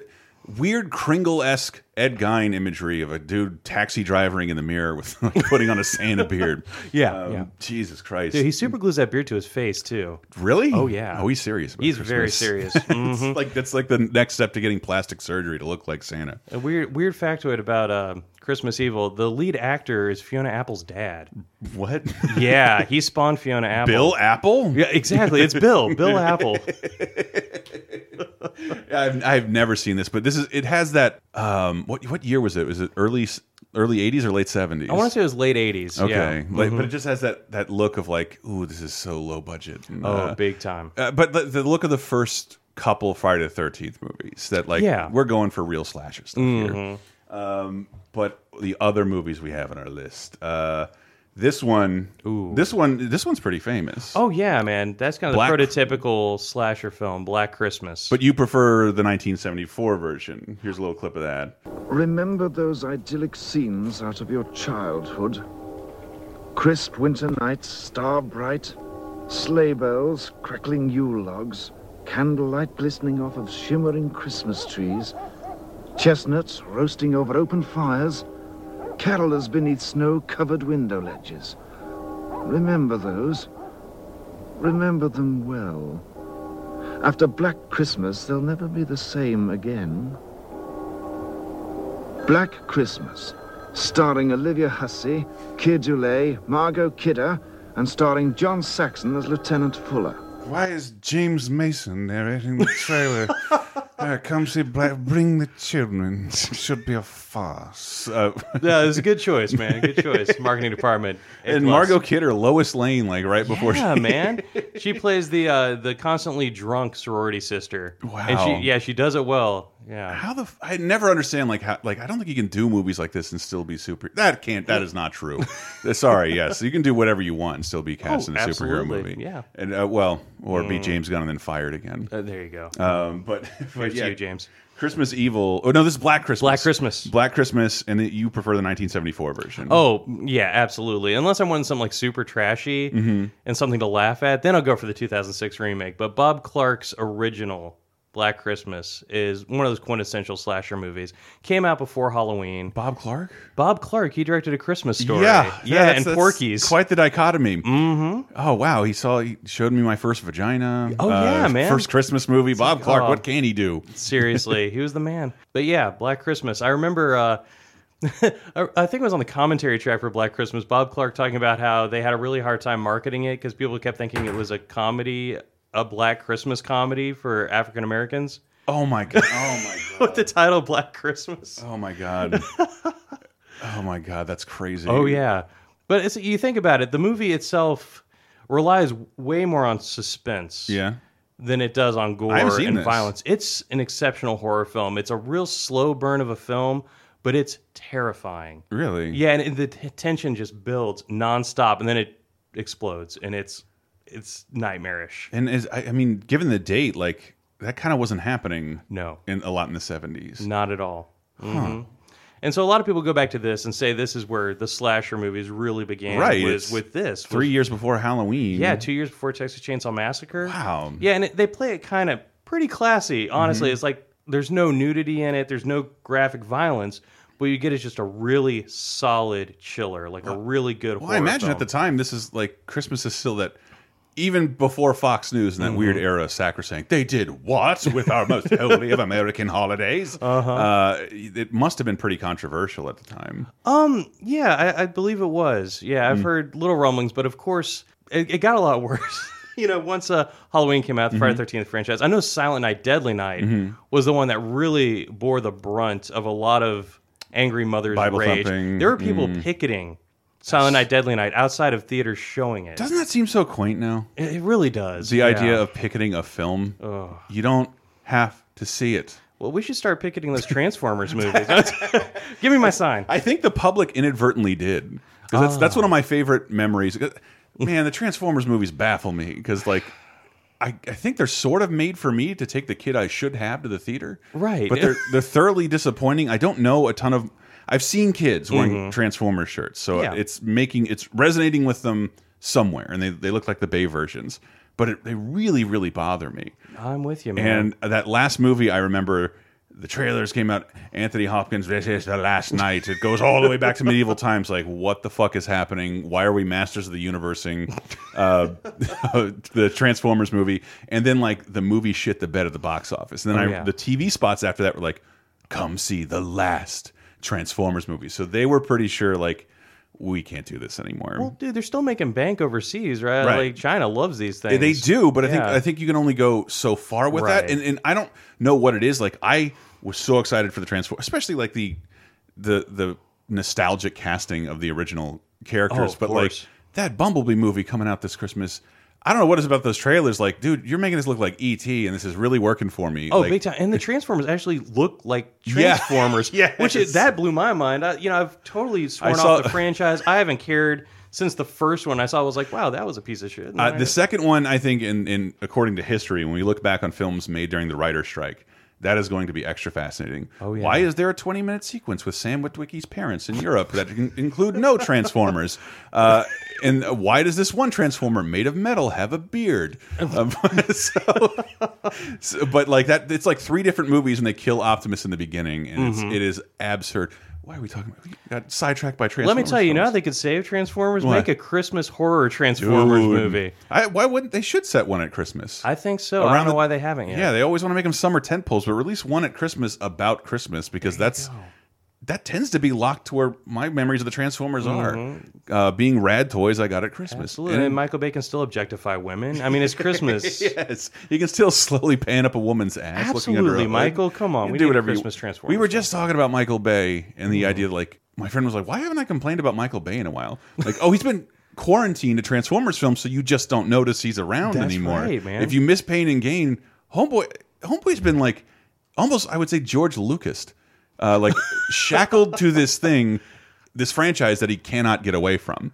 Speaker 1: weird Kringle esque Ed Gein imagery of a dude taxi drivering in the mirror with [laughs] like, putting on a Santa beard.
Speaker 2: [laughs] Yeah,
Speaker 1: Um,
Speaker 2: yeah.
Speaker 1: Jesus Christ.
Speaker 2: Dude, he super glues that beard to his face too.
Speaker 1: really?
Speaker 2: Oh, yeah.
Speaker 1: Oh, he's serious. About
Speaker 2: He's
Speaker 1: Christmas.
Speaker 2: very
Speaker 1: [laughs]
Speaker 2: serious. Mm-hmm.
Speaker 1: It's like that's like the next step to getting plastic surgery to look like Santa.
Speaker 2: a weird weird factoid about uh, Christmas Evil: the lead actor is Fiona Apple's dad.
Speaker 1: What?
Speaker 2: Yeah, he spawned Fiona Apple.
Speaker 1: [laughs] Bill Apple?
Speaker 2: Yeah, exactly. It's
Speaker 1: [laughs]
Speaker 2: Bill. Bill Apple.
Speaker 1: I've I've never seen this, but this is it has that. Um, what what year was it? Was it early s- early eighties or late seventies?
Speaker 2: I want to say it was late '80s.
Speaker 1: Okay,
Speaker 2: Yeah. Mm-hmm.
Speaker 1: like, but it just has that that look of like, ooh, this is so low budget. And,
Speaker 2: Oh,
Speaker 1: uh,
Speaker 2: big time.
Speaker 1: Uh, but the, the look of the first couple Friday the Thirteenth movies that like
Speaker 2: Yeah. Mm-hmm.
Speaker 1: we're going for real slasher stuff here. Um, but the other movies we have on our list, uh, This one, this one, this one's pretty famous.
Speaker 2: Oh yeah, man, that's kind of
Speaker 1: Black-
Speaker 2: the prototypical slasher film, Black Christmas.
Speaker 1: But you prefer the 1974 version. Here's a little clip of that.
Speaker 12: Remember those idyllic scenes out of your childhood? Crisp winter nights, star bright, sleigh bells, crackling Yule logs, candlelight glistening off of shimmering Christmas trees, chestnuts roasting over open fires, carolers beneath snow covered window ledges. Remember those. Remember them well. After Black Christmas, they'll never be the same again. Black Christmas, starring Olivia Hussey, Keir Dulé, Margot Kidder, and starring John Saxon as Lieutenant Fuller.
Speaker 13: Why is James Mason narrating the trailer?
Speaker 2: [laughs]
Speaker 13: Uh, come see Black. Bring the children. Should be a farce.
Speaker 1: [laughs] Uh,
Speaker 2: no, it was a good choice, man. Good
Speaker 1: [laughs]
Speaker 2: choice. Marketing department. A
Speaker 1: and
Speaker 2: plus.
Speaker 1: Margot Kidder, Lois Lane, like right before.
Speaker 2: Yeah,
Speaker 1: she,
Speaker 2: man. She plays the uh, the constantly drunk sorority sister. Wow. And
Speaker 1: Wow.
Speaker 2: she, yeah, she does it well.
Speaker 1: [laughs]
Speaker 2: Yeah.
Speaker 1: How the f I never understand like how like I don't think you can do movies like this and still be super. That can't. That is not true. Uh, Sorry. Yes, you can do whatever you want and still be cast
Speaker 2: Oh,
Speaker 1: in a superhero
Speaker 2: absolutely,
Speaker 1: movie.
Speaker 2: yeah.
Speaker 1: And uh, well, or be
Speaker 2: Mm.
Speaker 1: James Gunn and then fired again.
Speaker 2: Uh, there you go.
Speaker 1: Um, but, [laughs] but
Speaker 2: Here's to
Speaker 1: yeah,
Speaker 2: you, James.
Speaker 1: Christmas Evil. Oh no, this is Black Christmas. Black Christmas. Black Christmas, and that you prefer the 1974 version.
Speaker 2: Oh yeah, absolutely. Unless I'm wanting something like super trashy
Speaker 1: Mhm.
Speaker 2: and something to laugh at, then I'll go for the 2006 remake. But Bob Clark's original Black Christmas is one of those quintessential slasher movies. Came out before Halloween.
Speaker 1: Bob Clark.
Speaker 2: Bob Clark. He directed A Christmas Story.
Speaker 1: Yeah,
Speaker 2: yeah,
Speaker 1: that's-
Speaker 2: and
Speaker 1: that's
Speaker 2: Porky's.
Speaker 1: Quite the dichotomy. Mm-hmm. Oh wow, he saw, he showed me my first vagina. Uh,
Speaker 2: Oh, yeah, man.
Speaker 1: First Christmas movie. Bob
Speaker 2: like,
Speaker 1: Clark.
Speaker 2: oh.
Speaker 1: What can he do?
Speaker 2: Seriously, he was the man. But yeah, Black Christmas. I remember. Uh, [laughs] I I think it was on the commentary track for Black Christmas. Bob Clark talking about how they had a really hard time marketing it because people kept thinking it was a comedy, a Black Christmas comedy for African Americans. [laughs]
Speaker 1: Oh my god! Oh my god!
Speaker 2: With the title Black Christmas.
Speaker 1: [laughs] Oh my god! oh my god! That's crazy.
Speaker 2: Oh yeah, but it's, you think about it, the movie itself relies way more on suspense.
Speaker 1: Yeah.
Speaker 2: Than it does on gore
Speaker 1: I haven't seen
Speaker 2: and
Speaker 1: this.
Speaker 2: violence. It's an exceptional horror film. It's a real slow burn of a film, but it's terrifying.
Speaker 1: Really?
Speaker 2: Yeah, and the t- tension just builds nonstop, and then it explodes, and it's it's nightmarish.
Speaker 1: And as I, I mean, given the date, like that kind of wasn't happening.
Speaker 2: No,
Speaker 1: in a lot in the seventies.
Speaker 2: Not at all.
Speaker 1: Huh.
Speaker 2: Mhm. And so a lot of people go back to this and say this is where the slasher movies really began.
Speaker 1: right.
Speaker 2: was
Speaker 1: it's
Speaker 2: with this
Speaker 1: three
Speaker 2: was-
Speaker 1: years before Halloween.
Speaker 2: Yeah, two years before Texas Chainsaw Massacre.
Speaker 1: Wow.
Speaker 2: Yeah, and it, they play it kind of pretty classy. Honestly,
Speaker 1: Mhm.
Speaker 2: it's like there's no nudity in it. There's no graphic violence. What you get is just a really solid chiller, like a really good.
Speaker 1: Well,
Speaker 2: horror
Speaker 1: I imagine
Speaker 2: film.
Speaker 1: at the time this is like Christmas is still that even before Fox News and that weird
Speaker 2: Mm-hmm.
Speaker 1: era of sacrosanct, they did what with our
Speaker 2: [laughs]
Speaker 1: most holy of American holidays? Uh-huh. it must have been pretty controversial at the time.
Speaker 2: Um, yeah, I, I believe it was. Yeah,
Speaker 1: Mm.
Speaker 2: I've heard little rumblings, but of course, it, it got a lot [laughs] worse. you know, once uh, Halloween came out, the Friday
Speaker 1: Mhm.
Speaker 2: Thirteenth franchise. I know Silent Night, Deadly Night
Speaker 1: Mhm.
Speaker 2: was the one that really bore the brunt of a lot of angry mothers'
Speaker 1: Bible
Speaker 2: rage.
Speaker 1: thumping.
Speaker 2: There were people
Speaker 1: Mm.
Speaker 2: picketing Silent Night, Deadly Night outside of theaters showing it.
Speaker 1: Doesn't that seem so quaint now?
Speaker 2: It, it really does.
Speaker 1: The
Speaker 2: yeah.
Speaker 1: idea of picketing a film, you don't have to see it.
Speaker 2: Well, we should start picketing
Speaker 1: [laughs]
Speaker 2: those Transformers movies. [laughs] Give me my sign.
Speaker 1: I think the public inadvertently did 'Cause that's that's
Speaker 2: Ah.
Speaker 1: one of my favorite memories. Uh, Man, the Transformers movies baffle me because like. I, I think they're sort of made for me to take the kid I should have to the theater,
Speaker 2: Right.
Speaker 1: But they're they're thoroughly disappointing. I don't know a ton of. I've seen kids wearing
Speaker 2: Mhm.
Speaker 1: Transformers shirts, so
Speaker 2: Yeah.
Speaker 1: it's making it's resonating with them somewhere, and they they look like the Bay versions, but it, they really really bother me.
Speaker 2: I'm with you, man.
Speaker 1: And that last movie, I remember the trailers came out. Anthony Hopkins, this is the last night. It goes all the way back to medieval times. Like, what the fuck is happening? Why are we masters of the universing? Uh, [laughs] the Transformers movie, and then like the movie shit the bed at the box office. And then
Speaker 2: Oh,
Speaker 1: I,
Speaker 2: yeah.
Speaker 1: the TV spots after that were like, come see the last Transformers movie. So they were pretty sure like. We can't do this anymore.
Speaker 2: Well, dude, they're still making bank overseas, right?
Speaker 1: Right.
Speaker 2: Like China loves these
Speaker 1: They-
Speaker 2: things.
Speaker 1: They do, but I think
Speaker 2: Yeah.
Speaker 1: I think you can only go so far with that.
Speaker 2: Right.
Speaker 1: And and I don't know what it is. Like I was so excited for the transform, especially like the the the nostalgic casting of the original characters.
Speaker 2: Oh, of
Speaker 1: but like
Speaker 2: course.
Speaker 1: that Bumblebee movie coming out this Christmas. I don't know what is about those trailers. Like, dude, you're making this look like ET, and this is really working for me.
Speaker 2: Oh,
Speaker 1: like,
Speaker 2: big time! And the Transformers actually look like
Speaker 1: [laughs] Yeah.
Speaker 2: Transformers,
Speaker 1: Yes.
Speaker 2: which is, that blew my mind. I, you know, I've totally
Speaker 1: [laughs]
Speaker 2: sworn
Speaker 1: saw-
Speaker 2: off the franchise. I haven't cared since the first one I saw, I was like, wow, that was a piece of shit. And
Speaker 1: Uh,
Speaker 2: then I-
Speaker 1: the second one, I think, in, in according to history, when we look back on films made during the writer's strike, that is going to be extra fascinating. Oh, yeah. Why is there a 20 minute sequence with Sam Witwicky's parents in Europe that in- include no Transformers? Uh, and why does this one Transformer made of metal have a beard?
Speaker 2: [laughs]
Speaker 1: Um, [laughs] so, so- but like that, it's like three different movies and they kill Optimus in the beginning, and
Speaker 2: Mhm.
Speaker 1: it's, it is absurd. Why are we talking about? We got sidetracked by Transformers.
Speaker 2: Let me tell you, you know
Speaker 1: films.
Speaker 2: how they could save Transformers?
Speaker 1: What?
Speaker 2: Make a Christmas horror Transformers
Speaker 1: Dude.
Speaker 2: movie.
Speaker 1: I, why wouldn't they should set one at Christmas?
Speaker 2: I think so. I don't know why they haven't yet.
Speaker 1: Yeah, they always want to make them summer tent poles, but release one at Christmas about Christmas because that's that tends to be locked to where my memories of the Transformers
Speaker 2: Mhm.
Speaker 1: are uh, being rad toys I got at Christmas.
Speaker 2: Absolutely. And, Michael Bay can still objectify women. I
Speaker 1: [laughs]
Speaker 2: mean, it's Christmas.
Speaker 1: yes, you can still slowly pan up a woman's ass. looking under her
Speaker 2: Absolutely,
Speaker 1: hood.
Speaker 2: Michael, come on,
Speaker 1: You
Speaker 2: we
Speaker 1: do
Speaker 2: need
Speaker 1: whatever
Speaker 2: Christmas
Speaker 1: you,
Speaker 2: Transformers Mm-hmm.
Speaker 1: We were just talking about Michael Bay and the idea, like my friend was like, "Why haven't I complained about Michael Bay in a while?" Like, oh, he's been quarantined to Transformers films, so you just don't notice he's around
Speaker 2: That's
Speaker 1: anymore.
Speaker 2: right, man.
Speaker 1: If you miss Pain and Gain, Homeboy, Homeboy's been like almost, I would say, George Lucas, uh, like shackled to this thing, this franchise that he cannot get away from.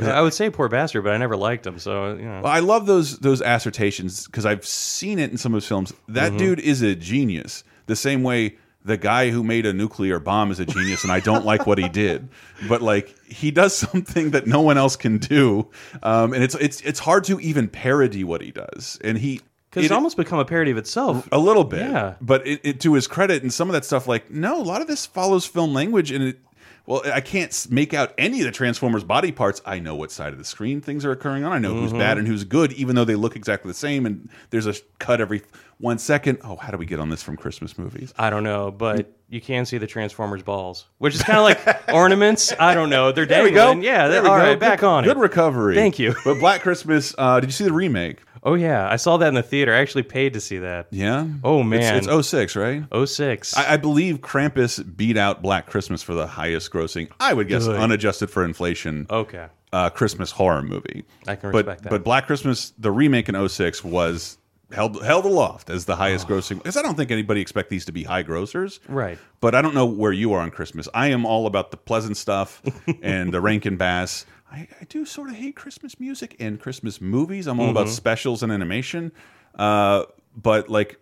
Speaker 2: I would say poor bastard, but I never liked him. So, you know.
Speaker 1: Well, I love those those assertions because I've seen it in some of his films. That
Speaker 2: Mhm.
Speaker 1: dude is a genius. The same way the guy who made a nuclear bomb is a genius, and I don't like what he did. But like he does [laughs] something that no one else can do, um, and it's it's it's hard to even parody what he does. And he
Speaker 2: Because it's
Speaker 1: it-
Speaker 2: almost become a parody of itself.
Speaker 1: a little bit.
Speaker 2: Yeah.
Speaker 1: But it, it, to his credit, and some of that stuff, like no, a lot of this follows film language, and it. Well, I can't s- make out any of the Transformers body parts. I know what side of the screen things are occurring on. I know who's
Speaker 2: Mhm.
Speaker 1: bad and who's good, even though they look exactly the same. And there's a cut every one second. Oh, how do we get on this from Christmas movies?
Speaker 2: I don't know, but you can see the Transformers balls, which is kind of like ornaments. I don't know. They're
Speaker 1: There we
Speaker 2: dangling.
Speaker 1: go.
Speaker 2: Yeah,
Speaker 1: there
Speaker 2: they're
Speaker 1: we go.
Speaker 2: back
Speaker 1: Good-
Speaker 2: on it.
Speaker 1: Good recovery.
Speaker 2: Thank you.
Speaker 1: But Black Christmas. Uh, did you see the remake?
Speaker 2: Oh yeah, I saw that in the theater. I actually paid to see that.
Speaker 1: Yeah.
Speaker 2: Oh
Speaker 1: It's-
Speaker 2: man,
Speaker 1: it's, 06, right?
Speaker 2: 06.
Speaker 1: I, I believe Krampus beat out Black Christmas for the highest grossing. I would guess
Speaker 2: Good. Oh,
Speaker 1: unadjusted for inflation.
Speaker 2: Okay.
Speaker 1: Uh, Christmas horror movie.
Speaker 2: I can
Speaker 1: but,
Speaker 2: respect that.
Speaker 1: But Black Christmas, the remake in 06, was held held aloft as the highest grossing. Because I don't think anybody expect these to be high grossers.
Speaker 2: Right.
Speaker 1: But I don't know where you are on Christmas. I am all about the pleasant
Speaker 2: [laughs]
Speaker 1: stuff and the Rankin Bass. I, I do sort of hate Christmas music and Christmas movies. I'm all about
Speaker 2: Mhm.
Speaker 1: specials and animation. Uh, but like,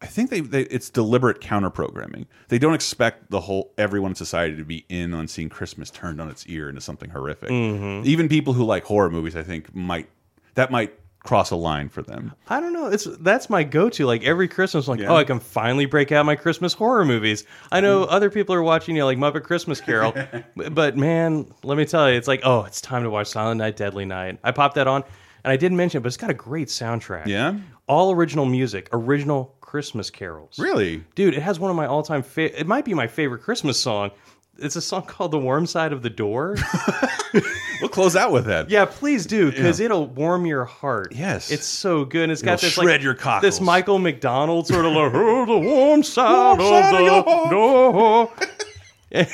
Speaker 1: I think they, they it's deliberate counter programming. They don't expect the whole everyone in society to be in on seeing Christmas turned on its ear into something horrific.
Speaker 2: Mhm.
Speaker 1: Even people who like horror movies, I think might that might cross a line for them.
Speaker 2: I don't know. It's that's my go-to. Like every Christmas, like
Speaker 1: Yeah. Mm.
Speaker 2: oh, I can finally break out my Christmas horror movies. I know other people are watching, you know, like Muppet
Speaker 1: [laughs]
Speaker 2: Christmas Carol, but man, let me tell you, it's like oh, it's time to watch Silent Night, Deadly Night. I popped that on, and I didn't mention, it, but it's got a great soundtrack.
Speaker 1: Yeah,
Speaker 2: all original music, original Christmas carols.
Speaker 1: Really,
Speaker 2: dude, it has one of my all-time. Fa- it might be my favorite Christmas song. It's a song called "The Warm Side of the Door."
Speaker 1: [laughs] we'll close out with that.
Speaker 2: Yeah, please do because
Speaker 1: Yeah.
Speaker 2: it'll warm your heart.
Speaker 1: Yes.
Speaker 2: it's so good. And it's got
Speaker 1: It'll
Speaker 2: this
Speaker 1: shred
Speaker 2: like
Speaker 1: your cockles.
Speaker 2: this Michael McDonald sort of like
Speaker 1: [laughs]
Speaker 2: "Oh, the warm side
Speaker 10: side of
Speaker 2: of
Speaker 10: your
Speaker 2: the door.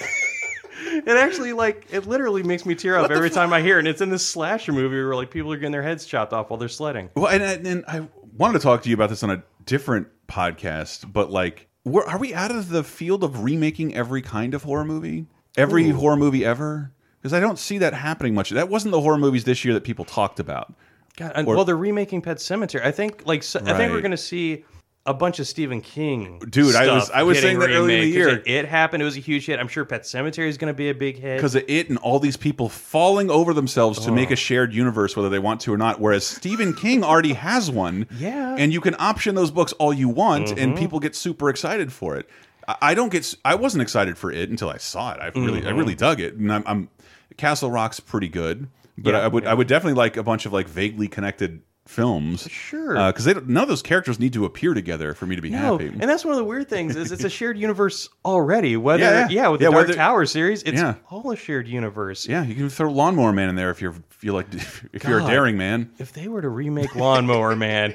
Speaker 2: it actually like it literally makes me tear up every time I hear it. And it's in this slasher movie where like people are getting their heads chopped off while they're sledding.
Speaker 1: Well, and, and and I wanted to talk to you about this on a different podcast, but like, we're, are we out of the field of remaking every kind of horror movie, every
Speaker 2: Ooh.
Speaker 1: horror movie ever? Because I don't see that happening much. That wasn't the horror movies this year that people talked about.
Speaker 2: God, and-
Speaker 1: Or-
Speaker 2: well, they're remaking Pet Cemetery. I think like so, I think we're
Speaker 1: Right.
Speaker 2: gonna see a bunch of Stephen King.
Speaker 1: Dude, I was-
Speaker 2: stuff
Speaker 1: I was saying
Speaker 2: getting
Speaker 1: that earlier in the
Speaker 2: remade 'cause
Speaker 1: year.
Speaker 2: It, It happened. It was a huge hit. I'm sure Pet Cemetery is gonna be a big hit
Speaker 1: Because of it and all these people falling over themselves to make a shared universe, whether they want to or not. Whereas Stephen King already has one.
Speaker 2: Yeah.
Speaker 1: And you can option those books all you want, and
Speaker 2: Mhm.
Speaker 1: people get super excited for it. I, I don't get. s- I wasn't excited for it until I saw it. I really, I
Speaker 2: Mhm.
Speaker 1: really dug it, and I'm, I'm Castle Rock's pretty good, but
Speaker 2: Yeah,
Speaker 1: I would,
Speaker 2: yeah.
Speaker 1: I would definitely like a bunch of like vaguely connected films.
Speaker 2: Sure.
Speaker 1: Because they don't none of those characters need to appear together for me to be
Speaker 2: No,
Speaker 1: uh, happy.
Speaker 2: and that's one of the weird things is it's a shared universe already. Whether
Speaker 1: Yeah,
Speaker 2: yeah,
Speaker 1: yeah.
Speaker 2: with the
Speaker 1: Yeah,
Speaker 2: Dark
Speaker 1: whether-
Speaker 2: Tower series, it's
Speaker 1: Yeah.
Speaker 2: all a shared universe.
Speaker 1: yeah, you can throw Lawnmower Man in there if you're, if you're like, [laughs] if you're a
Speaker 2: God.
Speaker 1: daring man.
Speaker 2: If they were to remake Lawnmower [laughs] Man,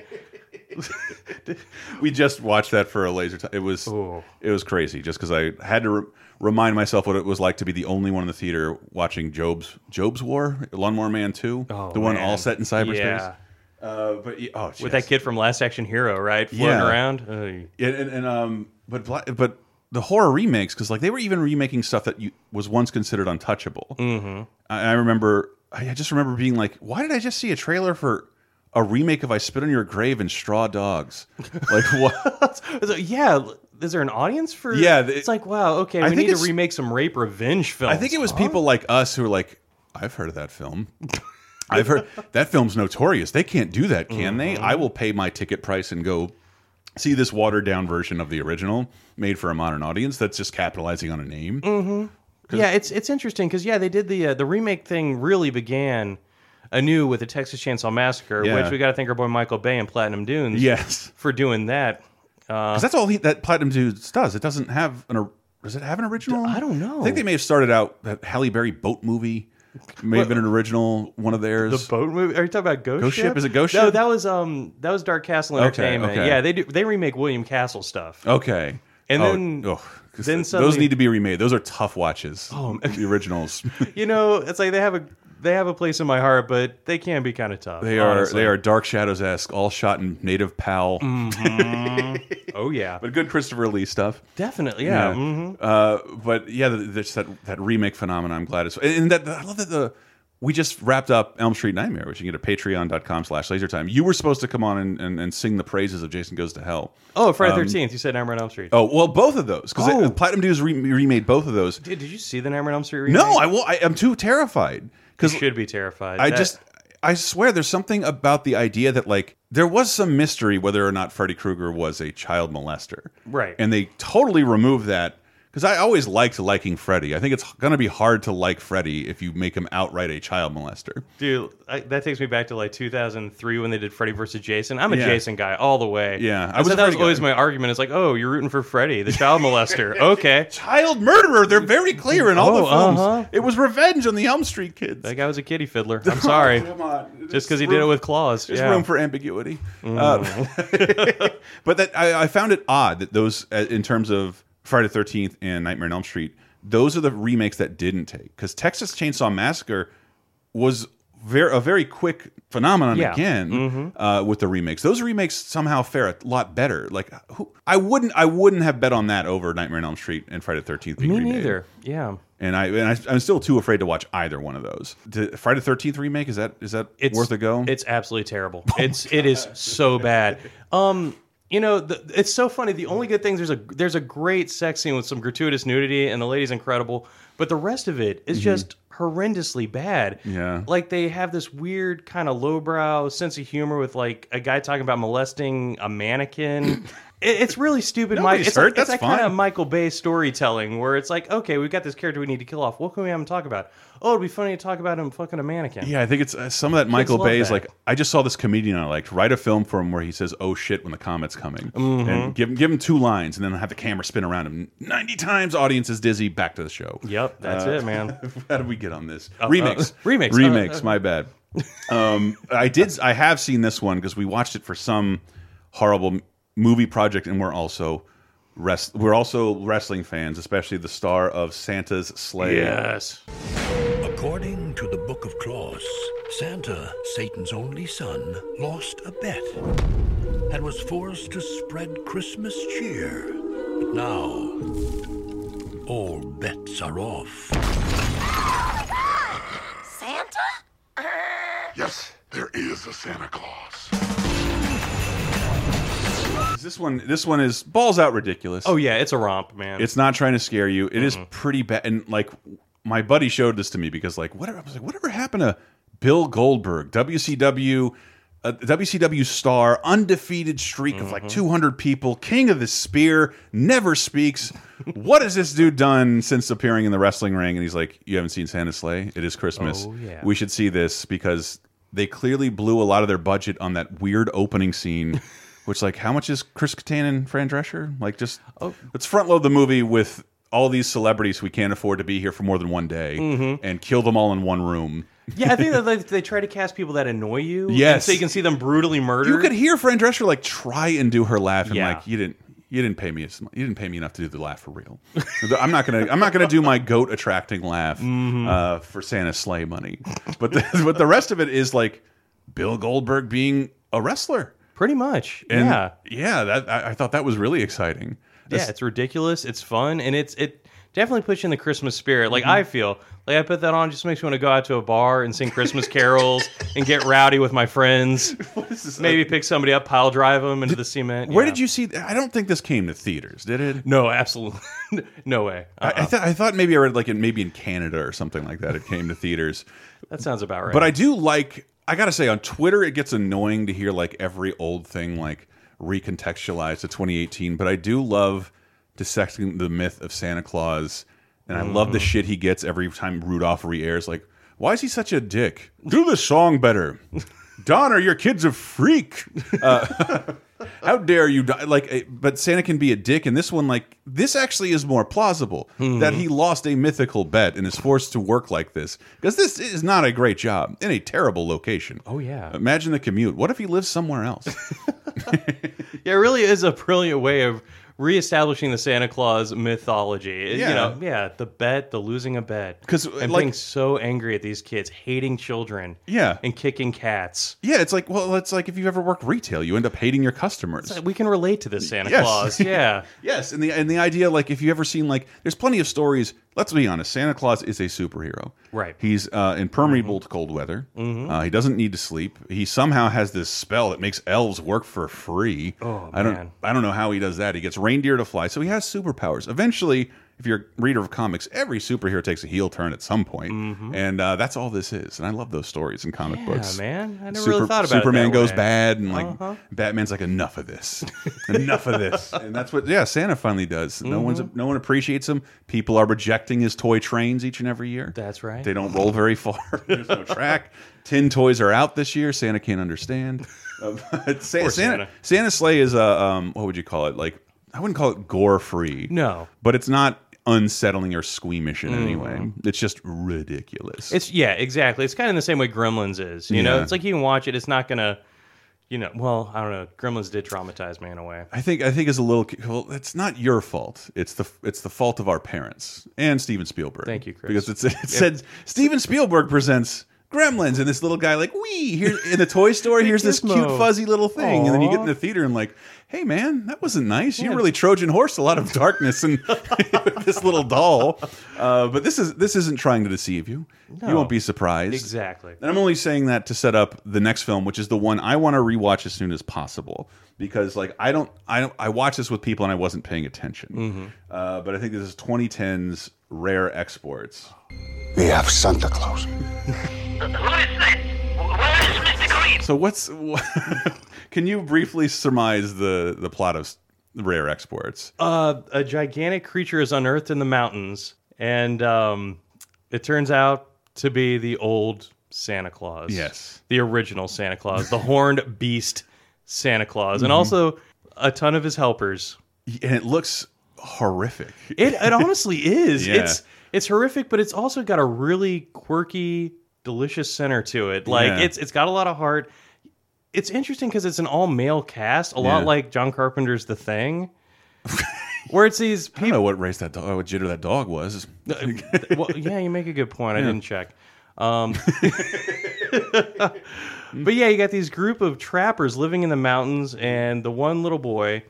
Speaker 1: we just watched that for a laser time. It was it was crazy just because I had to re remind myself what it was like to be the only one in the theater watching Job's Job's War, Lawnmower Man Two, the one
Speaker 2: Oh, man.
Speaker 1: all set in cyberspace.
Speaker 2: Yeah.
Speaker 1: Uh, but y- oh,
Speaker 2: with that kid from Last Action Hero, right, floating
Speaker 1: Yeah.
Speaker 2: around. Hey.
Speaker 1: Yeah, and, and, um, but Bla- but the horror remakes because like they were even remaking stuff that you, was once considered untouchable.
Speaker 2: Mhm.
Speaker 1: I, I remember I I just remember being like, why did I just see a trailer for a remake of I Spit on Your Grave and Straw
Speaker 2: [laughs]
Speaker 1: Dogs? Like what?
Speaker 2: It's like, yeah, is there an audience for?
Speaker 1: Yeah, the-
Speaker 2: it's like wow, okay,
Speaker 1: I
Speaker 2: we
Speaker 1: think
Speaker 2: need to
Speaker 1: it's-
Speaker 2: remake some rape revenge films.
Speaker 1: I think it was people like us who were like, I've heard of that film. I've heard that film's notorious. They can't do that, can they?
Speaker 2: Mm-hmm.
Speaker 1: I will pay my ticket price and go see this watered down version of the original made for a modern audience that's just capitalizing on a name.
Speaker 2: hmm
Speaker 1: 'Cause-
Speaker 2: Yeah, it's it's interesting because yeah, they did the uh, the remake thing really began anew with the Texas Chainsaw Massacre,
Speaker 1: Yeah.
Speaker 2: which we got to thank our boy Michael Bay and Platinum Dunes
Speaker 1: Yes.
Speaker 2: for doing that. Uh,
Speaker 1: Because that's all he, that Platinum Dudes does. It doesn't have an. or- Does it have an original? I
Speaker 2: don't know.
Speaker 1: I think they may have started out that Halle Berry boat movie. May have been an original one of theirs.
Speaker 2: the boat movie. Are you talking about Ghost,
Speaker 1: Ghost Ship? Is it Ghost
Speaker 2: No,
Speaker 1: Ship?
Speaker 2: that was um that was Dark Castle
Speaker 1: Okay,
Speaker 2: Entertainment.
Speaker 1: okay.
Speaker 2: Yeah, they do they remake William Castle stuff.
Speaker 1: Okay.
Speaker 2: And
Speaker 1: Oh,
Speaker 2: then-
Speaker 1: oh, 'cause
Speaker 2: then
Speaker 1: th- those
Speaker 2: suddenly-
Speaker 1: need to be remade. Those are tough watches. Oh, the
Speaker 2: [laughs]
Speaker 1: originals.
Speaker 2: You know, it's like they have a they have a place in my heart, but they can be kind of tough.
Speaker 1: they are
Speaker 2: honestly. Mm-hmm.
Speaker 1: they are Dark Shadows esque, all shot in native PAL.
Speaker 2: Mhm. oh yeah,
Speaker 1: but good Christopher Lee stuff.
Speaker 2: Definitely, yeah. Mhm.
Speaker 1: Uh, but yeah, th- there's that that remake phenomenon. I'm glad it's and and that I love that the we just wrapped up Elm Street Nightmare, which you can get at Patreon.com/slash LaserTime. You were supposed to come on and, and, and sing the praises of Jason Goes to Hell.
Speaker 2: Oh, Friday
Speaker 1: Um,
Speaker 2: Thirteenth. you said Nightmare on Elm Street.
Speaker 1: Oh well, both of those because
Speaker 2: Oh.
Speaker 1: Platinum Dudes re remade both of those.
Speaker 2: Did, did you see the Nightmare on Elm Street remake?
Speaker 1: No, I will. I, I'm too terrified
Speaker 2: You
Speaker 1: because
Speaker 2: should be terrified.
Speaker 1: I
Speaker 2: That-
Speaker 1: just I swear there's something about the idea that like there was some mystery whether or not Freddy Krueger was a child molester.
Speaker 2: Right.
Speaker 1: And they totally removed that cuz I always liked liking Freddy. I think it's going to be hard to like Freddy if you make him outright a child molester.
Speaker 2: dude, I, that takes me back to like 2003 when they did Freddy versus Jason. I'm a
Speaker 1: Yeah.
Speaker 2: Jason guy all the way.
Speaker 1: Yeah, I
Speaker 2: I
Speaker 1: was a
Speaker 2: said that was
Speaker 1: Freddy guy.
Speaker 2: always my argument. It's like, oh, you're rooting for Freddy, the child
Speaker 1: [laughs]
Speaker 2: molester. Okay,
Speaker 1: Child murderer, they're very clear in all the
Speaker 2: Oh,
Speaker 1: films.
Speaker 2: uh-huh.
Speaker 1: It was revenge on the Elm Street kids.
Speaker 2: that guy was a kitty fiddler. I'm
Speaker 1: [laughs]
Speaker 2: sorry.
Speaker 1: Come on.
Speaker 2: Just because he did it with claws.
Speaker 1: There's
Speaker 2: yeah.
Speaker 1: room for ambiguity. Uh, [laughs] but that I, I found it odd that those, uh, in terms of Friday the Thirteenth and Nightmare on Elm Street, those are the remakes that didn't take because Texas Chainsaw Massacre was very a very quick phenomenon
Speaker 13: Yeah.
Speaker 1: again
Speaker 2: Mm-hmm.
Speaker 1: uh, with the remakes. Those remakes somehow fare a lot better. Like who, I wouldn't I wouldn't have bet on that over Nightmare on Elm Street and Friday the Thirteenth.
Speaker 2: Me neither. Yeah.
Speaker 1: And I and I, I'm still too afraid to watch either one of those. The Friday the Thirteenth remake is that is that
Speaker 2: It's-
Speaker 1: worth a go?
Speaker 2: It's absolutely
Speaker 1: [laughs]
Speaker 2: terrible.
Speaker 1: Oh
Speaker 2: it's it is so bad. Um, you know, the, it's so funny. The only good thing there's a there's a great sex scene with some gratuitous nudity, and the lady's incredible. But the rest of it is
Speaker 1: Mhm.
Speaker 2: just horrendously bad.
Speaker 1: Yeah.
Speaker 2: Like they have this weird kind of lowbrow sense of humor with like a guy talking about molesting
Speaker 1: [coughs]
Speaker 2: a mannequin. It- It's really stupid.
Speaker 1: Nobody's
Speaker 2: it's
Speaker 1: hurt.
Speaker 2: Like, it's
Speaker 1: That's
Speaker 2: that kind of
Speaker 1: fine.
Speaker 2: Michael Bay storytelling where it's like, okay, we've got this character we need to kill off. What can we have him talk about? Oh, it'd be funny to talk about him fucking a mannequin.
Speaker 1: Yeah, I think it's uh, some of that
Speaker 2: Kids
Speaker 1: Michael
Speaker 2: love
Speaker 1: Bay is
Speaker 2: that.
Speaker 1: like, I just saw this comedian I liked. Write a film for him where he says, "Oh shit," when the comet's coming,
Speaker 2: Mhm.
Speaker 1: and give him give him two lines, and then have the camera spin around him ninety times. Audience is dizzy. Back to the show.
Speaker 2: Yep, that's
Speaker 1: Uh,
Speaker 2: it, man.
Speaker 1: [laughs] How did we get on this?
Speaker 2: Uh,
Speaker 1: remakes,
Speaker 2: [laughs] uh, remakes, uh,
Speaker 1: remakes.
Speaker 2: uh.
Speaker 1: my
Speaker 2: [laughs]
Speaker 1: bad. Um, I did. I have seen this one because we watched it for some horrible m- movie project, and we're also. Rest, we're also wrestling fans, especially the star of Santa's Sleigh.
Speaker 2: Yes.
Speaker 14: According to the Book of Claus, Santa, Satan's only son, lost a bet and was forced to spread Christmas cheer. But now, all bets are off.
Speaker 10: Santa?
Speaker 14: Yes, there is a Santa Claus.
Speaker 1: This one, this one is balls out ridiculous.
Speaker 2: Oh yeah, it's a romp, man.
Speaker 1: It's not trying to scare you. It is pretty bad. And like my buddy showed this to me because like whatever I was like, whatever happened to Bill Goldberg, WCW, uh, WCW star, undefeated streak of
Speaker 2: Mm-hmm.
Speaker 1: like 200 people, king of the spear, never speaks. what has this dude done since appearing in the wrestling ring? And he's like, you haven't seen Santa Slay? It is Christmas.
Speaker 2: Oh, yeah.
Speaker 1: We should see this because they clearly blew a lot of their budget on that weird opening
Speaker 2: [laughs]
Speaker 1: scene. Which like how much is Chris Kattan and Fran Drescher? Like just
Speaker 2: Oh.
Speaker 1: let's front load the movie with all these celebrities we can't afford to be here for more than one day
Speaker 2: Mhm.
Speaker 1: and kill them all in one room.
Speaker 2: yeah, I think
Speaker 1: [laughs]
Speaker 2: that they, they try to cast people that annoy you. and
Speaker 1: Yes.
Speaker 2: so you can see them brutally murdered.
Speaker 1: You could hear Fran Drescher like try and do her laugh and
Speaker 2: Yeah.
Speaker 1: like you didn't you didn't pay me as mu- you didn't pay me enough to do the laugh for real. [laughs] I'm not gonna I'm not gonna do my goat attracting laugh
Speaker 2: Mm-hmm.
Speaker 1: uh, for Santa sleigh money. But the, [laughs] but the rest of it is like Bill Goldberg being a wrestler,
Speaker 2: pretty much.
Speaker 1: And
Speaker 2: yeah,
Speaker 1: yeah. That I, I thought that was really exciting.
Speaker 2: yeah. It's ridiculous. It's fun, and it's it definitely puts you in the Christmas spirit.
Speaker 1: Mm-hmm.
Speaker 2: Like I feel like I put that on just makes me want to go out to a bar and sing
Speaker 1: [laughs]
Speaker 2: Christmas carols and get rowdy with my friends. Maybe pick somebody up, pile drive them into the cement.
Speaker 1: Where did you see? I don't think this came to theaters, did it?
Speaker 2: No,
Speaker 1: [laughs]
Speaker 2: absolutely, no way.
Speaker 1: I, I, th I thought maybe I read like in maybe in Canada or something like that. It came to theaters.
Speaker 2: That sounds about right.
Speaker 1: But I do like. I gotta say, on Twitter, it gets annoying to hear like every old thing like recontextualized to 2018. But I do love dissecting the myth of Santa Claus, and I love the
Speaker 13: Mhm.
Speaker 1: shit he gets every time Rudolph re-airs. Like, why is he such a dick? Do the song better. Donner, your kid's a freak. Uh, how dare you? die- Like, eh, but Santa can be a dick, and this one, like, this actually is more plausible that
Speaker 2: Hmm.
Speaker 1: he lost a mythical bet and is forced to work like this because this is not a great job in a terrible location.
Speaker 2: Oh yeah.
Speaker 1: Imagine the commute. What if he lives somewhere
Speaker 2: [laughs]
Speaker 1: else?
Speaker 2: Yeah, it really is a brilliant way of reestablishing the Santa Claus mythology.
Speaker 1: Yeah.
Speaker 2: You know, yeah, the bet, the losing a bet.
Speaker 1: 'Cause,
Speaker 2: and
Speaker 1: like-
Speaker 2: being so angry at these kids, hating children.
Speaker 1: Yeah.
Speaker 2: And kicking cats.
Speaker 1: yeah, it's like well, it's like if you've ever worked retail, you end up hating your customers.
Speaker 2: We can relate to this Santa
Speaker 1: Yes. [laughs]
Speaker 2: Claus. Yeah.
Speaker 1: yes, and the and the idea like if you ever seen like there's plenty of stories. Let's be honest, Santa Claus is a superhero.
Speaker 2: Right. Mm-hmm.
Speaker 1: He's uh, impermeable to cold weather.
Speaker 2: Mhm.
Speaker 1: Uh, he doesn't need to sleep. He somehow has this spell that makes elves work for free.
Speaker 2: Oh,
Speaker 1: I don't
Speaker 2: man.
Speaker 1: I don't know how he does that. He gets reindeer to fly, so he has superpowers. Eventually, if you're a reader of comics, every superhero takes a heel turn at some point, and uh, that's all this is. And I love those stories in comic
Speaker 2: Mm-hmm. Yeah,
Speaker 1: books.
Speaker 2: man. I never really thought about it
Speaker 1: Superman
Speaker 2: that
Speaker 1: goes
Speaker 2: way.
Speaker 1: bad, and like
Speaker 2: Uh-huh.
Speaker 1: Batman's like enough of
Speaker 2: [laughs]
Speaker 1: this, enough of this, and that's what yeah Santa finally does. No one's
Speaker 2: Mm-hmm.
Speaker 1: no one appreciates him. People are rejecting his toy trains each and every year.
Speaker 2: That's right.
Speaker 1: They don't roll very far. [laughs] There's no track. Tin toys are out this year. Santa can't understand. Uh, [laughs] but Sa-
Speaker 2: Poor
Speaker 1: Santa,
Speaker 2: Santa.
Speaker 1: Santa sleigh is a um, what would you call it? Like I wouldn't call it gore free.
Speaker 2: No.
Speaker 1: but it's not unsettling or squeamish in any
Speaker 2: Mm.
Speaker 1: way. It's just ridiculous.
Speaker 2: It's yeah, exactly. It's kind of in the same way Gremlins is. You know,
Speaker 1: Yeah.
Speaker 2: it's like you can watch it. It's not gonna, you know. Well, I don't know. Gremlins did traumatize me in a way.
Speaker 1: I think I think as a little kid, well, it's not your fault. It's the it's the fault of our parents and Steven Spielberg.
Speaker 2: Thank you, Chris.
Speaker 1: Because it's, it
Speaker 2: Yeah.
Speaker 1: said Steven Spielberg presents Gremlins, and this little guy like wee here in the toy store. Here's this cute
Speaker 2: Gizmo.
Speaker 1: fuzzy little thing, and then you get
Speaker 2: Aw.
Speaker 1: in the theater and like, hey man, that wasn't nice. You really Trojan horse a lot of darkness and [laughs] this little doll. Uh, but this is this isn't trying to deceive you. You
Speaker 2: No.
Speaker 1: won't be surprised.
Speaker 2: Exactly.
Speaker 1: And I'm only saying that to set up the next film, which is the one I want to rewatch as soon as possible because like I don't I don't I watched this with people and I wasn't paying attention.
Speaker 2: Mm-hmm.
Speaker 1: Uh, but I think this is 2010's rare exports.
Speaker 15: We have Santa Claus.
Speaker 1: So
Speaker 2: [laughs]
Speaker 1: what's can you briefly surmise the the plot of rare exports?
Speaker 2: Uh, a gigantic creature is unearthed in the mountains, and um, it turns out to be the old Santa Claus.
Speaker 1: Yes.
Speaker 2: The original Santa Claus,
Speaker 1: [laughs]
Speaker 2: the horned beast Santa Claus, and
Speaker 1: Mhm.
Speaker 2: also a ton of his helpers.
Speaker 1: And it looks horrific. [laughs]
Speaker 2: It, it honestly is.
Speaker 1: Yeah.
Speaker 2: It's it's horrific, but it's also got a really quirky, delicious center to it. Like
Speaker 1: Yeah.
Speaker 2: it's it's got a lot of heart. It's interesting because it's an all male cast, a lot
Speaker 1: Yeah.
Speaker 2: like John Carpenter's The Thing, where it's these people.
Speaker 1: I don't know what race that dog, what jitter that dog was.
Speaker 2: well, yeah, you make a good point. I
Speaker 1: Yeah.
Speaker 2: didn't check. Um, [laughs] but yeah, you got these group of trappers living in the mountains, and the one little boy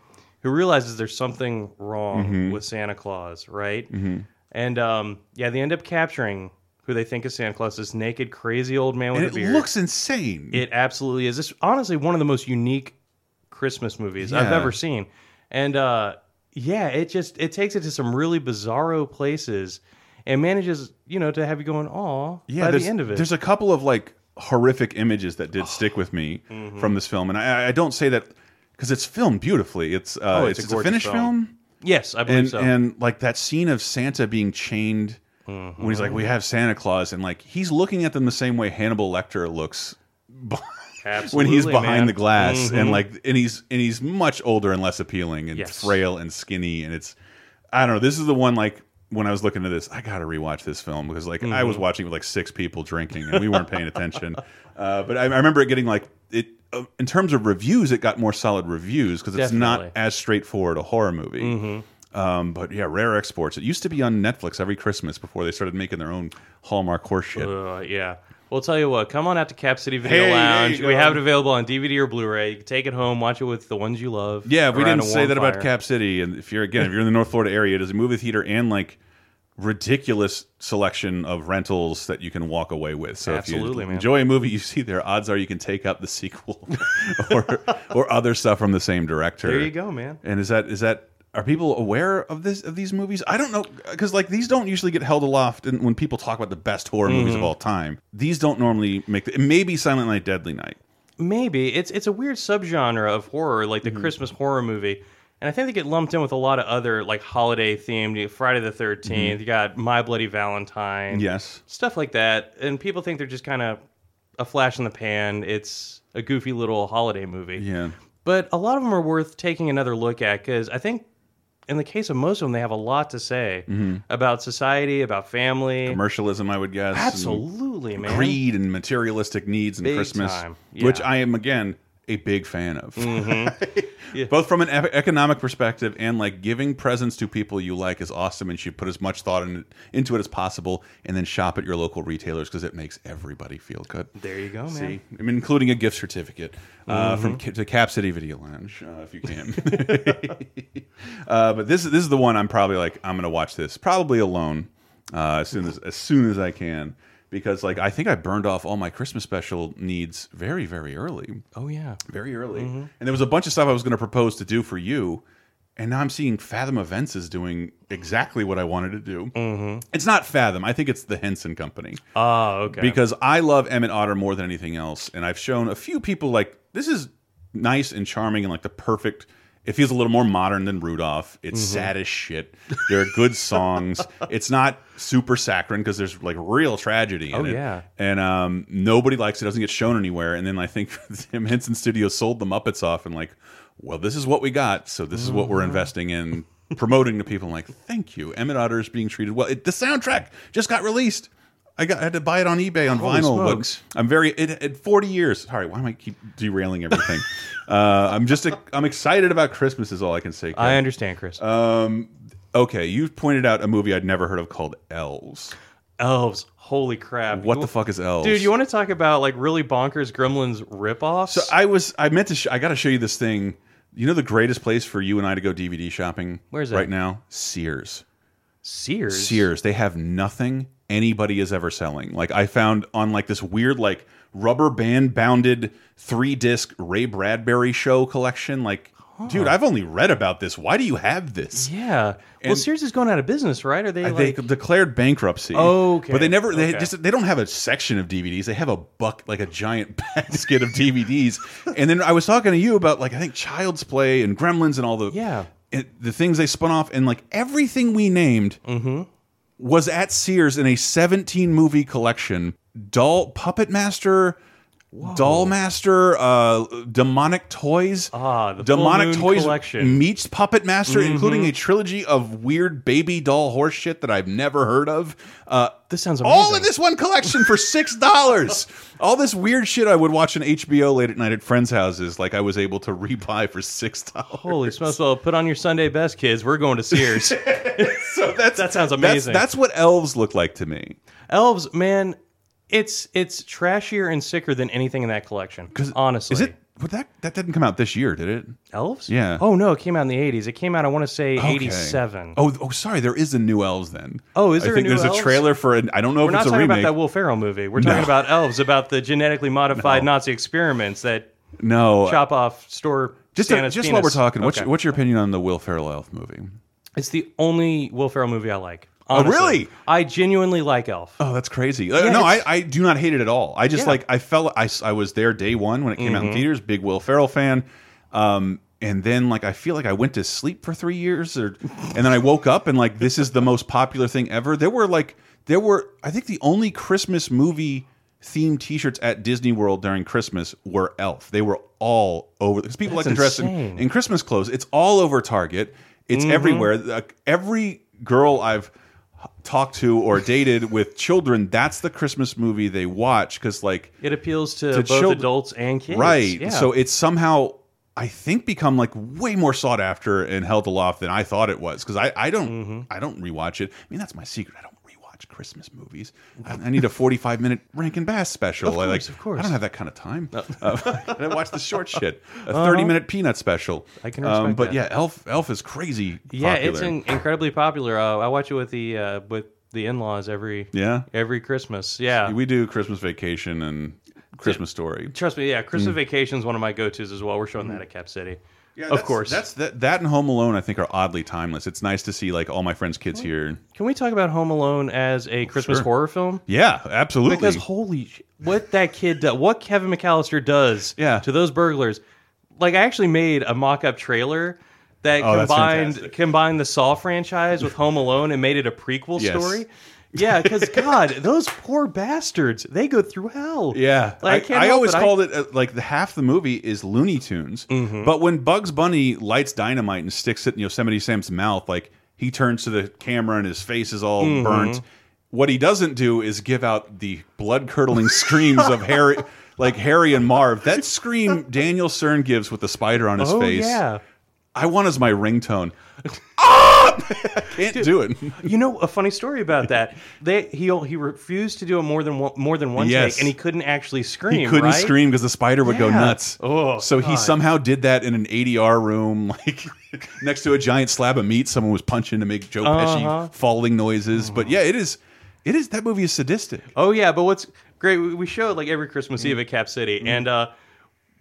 Speaker 2: who realizes there's something wrong
Speaker 1: Mhm.
Speaker 2: with Santa Claus, right?
Speaker 1: Mhm.
Speaker 2: And um, yeah, they end up capturing who they think is Santa Claus, this naked, crazy old man with
Speaker 1: And
Speaker 2: a
Speaker 1: it
Speaker 2: beard.
Speaker 1: looks insane.
Speaker 2: It absolutely is. It's honestly one of the most unique Christmas movies I've
Speaker 1: Yeah.
Speaker 2: ever seen. And uh, yeah, it just it takes it to some really bizarro places and manages, you know, to have you going, aw, by
Speaker 1: there's,
Speaker 2: the end of it.
Speaker 1: There's a couple of like horrific images that did stick with me
Speaker 2: Mhm.
Speaker 1: from this film, and I, I don't say that because it's filmed beautifully. It's uh,
Speaker 2: Oh,
Speaker 1: it's,
Speaker 2: it's a
Speaker 1: it's a,
Speaker 2: gorgeous
Speaker 1: finished
Speaker 2: film.
Speaker 1: film.
Speaker 2: Yes, I believe
Speaker 1: and,
Speaker 2: so.
Speaker 1: And like that scene of Santa being chained when
Speaker 2: Mm-hmm.
Speaker 1: he's like, "We have Santa Claus," and like he's looking at them the same way Hannibal Lecter looks when he's
Speaker 2: Absolutely,
Speaker 1: behind
Speaker 2: man.
Speaker 1: the glass, and
Speaker 2: Mhm.
Speaker 1: like and he's and he's much older and less appealing, and
Speaker 2: Yes.
Speaker 1: frail and skinny, and it's I don't know. This is the one like. When I was looking at this, I gotta rewatch this film because like I was
Speaker 2: Mhm.
Speaker 1: watching with like six people drinking and we weren't paying
Speaker 2: [laughs]
Speaker 1: attention. Uh, but I, I remember it getting like it uh, in terms of reviews, it got more solid reviews because it's not
Speaker 2: Definitely. Mm-hmm.
Speaker 1: as straightforward a horror movie. Um, but yeah, rare exports. It used to be on Netflix every Christmas before they started making their own Hallmark horse shit.
Speaker 2: Uh, yeah. We'll tell you what, come on out to Cap City Video
Speaker 1: Hey, there
Speaker 2: Lounge.
Speaker 1: you
Speaker 2: We
Speaker 1: go.
Speaker 2: have it available on DVD or Blu ray. You can take it home, watch it with the ones you love.
Speaker 1: Yeah, if we
Speaker 2: around
Speaker 1: didn't
Speaker 2: a
Speaker 1: say
Speaker 2: warm
Speaker 1: that about
Speaker 2: fire.
Speaker 1: Cap City, and if you're again, if you're in the North Florida area, there's a movie theater and like ridiculous selection of rentals that you can walk away with. So
Speaker 2: Absolutely,
Speaker 1: if you
Speaker 2: man.
Speaker 1: enjoy a movie you see there, odds are you can take up the sequel [laughs] or or other stuff from the same director.
Speaker 2: There you go, man.
Speaker 1: And is that is that are people aware of this of these movies? I don't know because like these don't usually get held aloft in, when people talk about the best horror movies of
Speaker 2: Mhm.
Speaker 1: all time. These don't normally make the, maybe Silent Night, Deadly Night.
Speaker 2: Maybe it's it's a weird subgenre of horror, like
Speaker 1: Mm-hmm.
Speaker 2: the Christmas horror movie, and I think they get lumped in with a lot of other like holiday themed you know, Friday
Speaker 1: Mm-hmm.
Speaker 2: the 13th You got My Bloody Valentine,
Speaker 1: Yes.
Speaker 2: stuff like that, and people think they're just kind of a flash in the pan. It's a goofy little holiday movie.
Speaker 1: Yeah.
Speaker 2: But a lot of them are worth taking another look at because I think, in the case of most of them, they have a lot to say
Speaker 1: Mhm.
Speaker 2: about society, about family.
Speaker 1: commercialism, I would guess. and
Speaker 2: Absolutely, man.
Speaker 1: Greed and materialistic needs and
Speaker 2: Big
Speaker 1: Christmas,
Speaker 2: time,
Speaker 1: which
Speaker 2: yeah.
Speaker 1: I am again a big fan of.
Speaker 2: Mhm.
Speaker 1: [laughs] Both from an e- economic perspective and like giving presents to people you like is awesome, and you should put as much thought in, into it as possible, and then shop at your local retailers because it makes everybody feel good.
Speaker 2: There you go, Oh, man.
Speaker 1: See, I mean, including a gift certificate uh, from
Speaker 2: Mhm.
Speaker 1: Ca- to Cap City Video Lounge, uh, if you can. [laughs] uh, but this this is the one I'm probably like I'm gonna watch this probably alone uh, as soon as as soon as I can because like I think I burned off all my Christmas special needs very very early.
Speaker 2: Oh yeah,
Speaker 1: very early. And there was a bunch of stuff I was going to propose to do for you. And now I'm seeing Fathom Events is doing exactly what I wanted to do. It's not Fathom. I think it's the Henson Company.
Speaker 2: Oh, okay.
Speaker 1: Because I love Emmett Otter more than anything else. And I've shown a few people like this is nice and charming and like the perfect. It feels a little more modern than Rudolph. It's
Speaker 2: Mm-hmm.
Speaker 13: Mhm.
Speaker 1: sad as shit. There are
Speaker 2: [laughs]
Speaker 1: good songs. it's not super saccharine because there's like real tragedy in
Speaker 2: Oh,
Speaker 1: it
Speaker 2: yeah.
Speaker 1: and um, nobody likes it. Doesn't get shown anywhere. And then I think [laughs] Tim Henson Studios sold the Muppets off, and like, well, this is what we got, so this is what we're
Speaker 2: Mm-hmm.
Speaker 1: investing in, promoting to people. like, thank you, Emmett Otter is being treated well. It, the soundtrack just got released. I got I had to buy it on eBay on
Speaker 13: Holy
Speaker 1: vinyl. but
Speaker 13: smokes.
Speaker 1: I'm very it, it, 40 years. Sorry, why am I keep derailing everything? [laughs] uh, I'm just i I'm excited about Christmas. Is all I can say.
Speaker 2: I understand, Chris.
Speaker 1: Um, okay, you pointed out a movie I'd never heard of called Elves.
Speaker 2: Elves. Oh, Holy crap!
Speaker 1: What
Speaker 2: You-
Speaker 1: the fuck is Elves?
Speaker 2: Dude, you want to talk about like really bonkers Gremlins ripoffs?
Speaker 1: So I was I meant to sh I got to show you this thing. You know the greatest place for you and I to go DVD shopping
Speaker 2: Where's that?
Speaker 1: right now? Sears.
Speaker 2: Sears.
Speaker 1: Sears. They have nothing anybody is ever selling. Like I found on like this weird like rubber band bounded 3 disc Ray Bradbury show collection like dude, I've only read about this. Why do you have this?
Speaker 2: Yeah. well,
Speaker 1: And-
Speaker 2: Sears is going out of business, right? Are they
Speaker 1: Uh,
Speaker 2: like? Oh,
Speaker 1: they declared bankruptcy.
Speaker 2: Okay,
Speaker 1: but they never. They
Speaker 2: okay.
Speaker 1: just they don't have a section of DVDs. They have a buck like a giant [laughs] basket of DVDs. and then I was talking to you about like I think Child's Play and Gremlins and all the yeah the things they spun off and like everything we named
Speaker 2: Mm-hmm.
Speaker 1: was at Sears in a 17 movie collection. Doll Puppet Master. Doll Master, uh, demonic toys, ah,
Speaker 2: the Full
Speaker 1: demonic
Speaker 2: Moon
Speaker 1: toys
Speaker 2: collection.
Speaker 1: meets Puppet Master,
Speaker 2: Mhm.
Speaker 1: including a trilogy of weird baby doll horse shit that I've never heard of. Uh,
Speaker 2: this sounds
Speaker 1: all in this one collection for
Speaker 2: [laughs]
Speaker 1: six dollars. all this weird shit I would watch on HBO late at night at friends' houses, like I was able to [laughs] rebuy for six dollars.
Speaker 2: Holy smokes! Well, put on your Sunday best, kids. We're going to Sears.
Speaker 1: [laughs] so that's
Speaker 2: that sounds
Speaker 1: That's,
Speaker 2: amazing.
Speaker 1: that's what elves look like to me.
Speaker 2: elves, man. It's it's trashier and sicker than anything in that collection. Honestly,
Speaker 1: Is it? But that that didn't come out this year, did it?
Speaker 2: Elves?
Speaker 1: Yeah.
Speaker 2: Oh no, it came out in the '80s. It came out, I want to say,
Speaker 1: Okay.
Speaker 2: '87.
Speaker 1: Oh, oh, sorry. There is a new Elves then.
Speaker 2: Oh, is
Speaker 1: I
Speaker 2: there a
Speaker 1: think
Speaker 2: new
Speaker 1: there's
Speaker 2: Elves?
Speaker 1: a trailer for an. I don't know
Speaker 2: We're
Speaker 1: if
Speaker 2: not
Speaker 1: it's a
Speaker 2: talking
Speaker 1: remake.
Speaker 2: about that Will Ferrell movie. We're talking about elves, about
Speaker 1: [laughs]
Speaker 2: the genetically modified Nazi experiments that
Speaker 1: no.
Speaker 2: chop off store.
Speaker 1: just
Speaker 2: Santa's
Speaker 1: just
Speaker 2: penis.
Speaker 1: while we're talking, what's
Speaker 2: Okay.
Speaker 1: what's your opinion on the Will Ferrell Elf movie?
Speaker 2: It's the only Will Ferrell movie I like.
Speaker 1: Oh,
Speaker 2: honestly.
Speaker 1: really?
Speaker 2: I genuinely like Elf.
Speaker 1: Oh, that's crazy. Uh,
Speaker 2: Yeah,
Speaker 1: no, I,
Speaker 2: it's-
Speaker 1: I do not hate it at all. I just
Speaker 2: Yeah.
Speaker 1: like I felt I, s- I was there day one when it came out in
Speaker 2: Mhm.
Speaker 1: theaters. Big Will Ferrell fan. Um, and then like I feel like I went to sleep for three years, or and then I woke up and like this is the most popular thing ever. There were like there were I think the only Christmas movie themed T-shirts at Disney World during Christmas were Elf. They were all over because people
Speaker 13: That's
Speaker 1: like to dress in,
Speaker 13: insane.
Speaker 1: in Christmas clothes. It's all over Target. It's
Speaker 2: Mm-hmm.
Speaker 13: Mhm.
Speaker 1: everywhere. Like, every girl I've talked to or dated with children, that's the Christmas movie they watch because like
Speaker 2: It appeals to,
Speaker 1: To
Speaker 2: both
Speaker 1: child-
Speaker 2: adults and kids.
Speaker 1: right.
Speaker 2: Yeah.
Speaker 1: So it's somehow I think become like way more sought
Speaker 2: Mm-hmm.
Speaker 1: after and held aloft than I thought it was because I I don't I don't rewatch it. I mean that's my secret. I don't watch Christmas movies. I, I need a 45 minute Rankin Bass special.
Speaker 2: Of
Speaker 1: I, like,
Speaker 2: course, of course.
Speaker 1: I don't have that kind of time. [laughs] Uh, and I watch the
Speaker 2: [laughs]
Speaker 1: short shit. A
Speaker 2: Uh-huh.
Speaker 1: 30 minute peanut special. Um,
Speaker 2: I can respect
Speaker 1: But
Speaker 2: that.
Speaker 1: yeah, Elf Elf is crazy.
Speaker 2: Yeah,
Speaker 1: popular.
Speaker 2: it's in, incredibly popular. Uh, I watch it with the uh, with the in laws every
Speaker 1: Yeah.
Speaker 2: every Christmas. Yeah,
Speaker 1: We do Christmas Vacation and Christmas Story.
Speaker 2: trust me. Yeah, Christmas
Speaker 1: Mm.
Speaker 2: Vacation is one of my go tos as well. We're showing that at Cap City. of
Speaker 1: that's-
Speaker 2: course.
Speaker 1: That's that, that and Home Alone. I think are oddly timeless. It's nice to see like all my friends' kids here.
Speaker 2: Can we talk about Home Alone as a Christmas
Speaker 1: Sure.
Speaker 2: horror film?
Speaker 1: Yeah, absolutely.
Speaker 2: Because holy, sh- what that kid does, what Kevin McAllister does, yeah. to those burglars. Like I actually made a mock-up trailer that
Speaker 1: Oh, that's
Speaker 2: combined combined the Saw franchise with Home Alone and made it a prequel
Speaker 1: Yes.
Speaker 2: story. Yeah, because
Speaker 1: [laughs]
Speaker 2: God, those poor bastards, they go through hell.
Speaker 1: Yeah,
Speaker 2: Like, I
Speaker 1: I,
Speaker 2: can't
Speaker 1: I
Speaker 2: help
Speaker 1: always
Speaker 2: it. I-
Speaker 1: called it uh, like the half the movie is Looney Tunes,
Speaker 2: Mm-hmm.
Speaker 1: but when Bugs Bunny lights dynamite and sticks it in Yosemite Sam's mouth, like he turns to the camera and his face is all
Speaker 2: Mm-hmm.
Speaker 13: Mhm.
Speaker 1: burnt. What he doesn't do is give out the blood curdling
Speaker 2: [laughs]
Speaker 1: screams of Harry, like Harry and Marv. That scream Daniel Cern gives with the spider on his
Speaker 2: Oh,
Speaker 1: face.
Speaker 2: yeah.
Speaker 1: I want as my
Speaker 2: [laughs]
Speaker 1: ringtone. Ah! can't do it.
Speaker 2: you know, a funny story about that. They he he refused to do it more than one, more than one
Speaker 1: Yes.
Speaker 2: take, and he couldn't actually scream.
Speaker 1: He couldn't
Speaker 2: right?
Speaker 1: scream because the spider would go
Speaker 2: Yeah.
Speaker 1: nuts.
Speaker 2: Oh,
Speaker 1: so he
Speaker 2: God.
Speaker 1: somehow did that in an ADR room, [laughs] like next to a giant slab of meat. Someone was punching to make Joe
Speaker 2: Uh-huh.
Speaker 1: Pesci falling noises. But yeah, it is, it is that movie is sadistic.
Speaker 2: Oh yeah, but what's great? We we show it like every Christmas
Speaker 1: Mm-hmm.
Speaker 2: Eve at Cap City, and uh,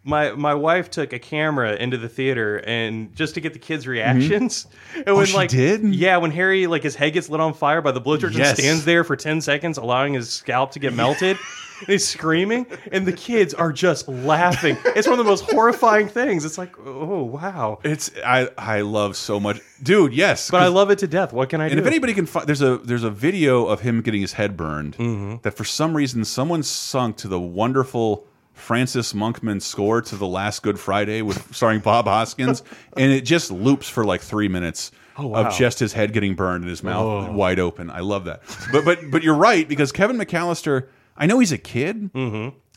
Speaker 2: my my wife took a camera into the theater and just to get the kids' reactions. [laughs] And
Speaker 1: Mm-hmm. Oh,
Speaker 2: when
Speaker 1: she
Speaker 2: like
Speaker 1: did?
Speaker 2: yeah, when Harry like his head gets lit on fire by the blowtorch
Speaker 1: Yes.
Speaker 2: and stands there for ten seconds, allowing his scalp to get
Speaker 1: [laughs]
Speaker 2: melted. And he's screaming, and the kids are just laughing. It's one of the most horrifying things. It's like, oh wow.
Speaker 1: It's I I love so much, dude. Yes,
Speaker 2: But I love it to death. What can I
Speaker 1: And
Speaker 2: do?
Speaker 1: if anybody can find, there's a there's a video of him getting his head burned
Speaker 13: Mm-hmm.
Speaker 1: that for some reason someone sunk to the wonderful Francis Monkman score to the Last Good Friday
Speaker 13: [laughs]
Speaker 1: with starring Bob Hoskins, and it just loops for like three minutes
Speaker 13: Oh, wow.
Speaker 1: of just his head getting burned and his mouth
Speaker 13: Oh.
Speaker 1: wide open. I love that. But but but you're right because Kevin McAllister, I know he's a kid,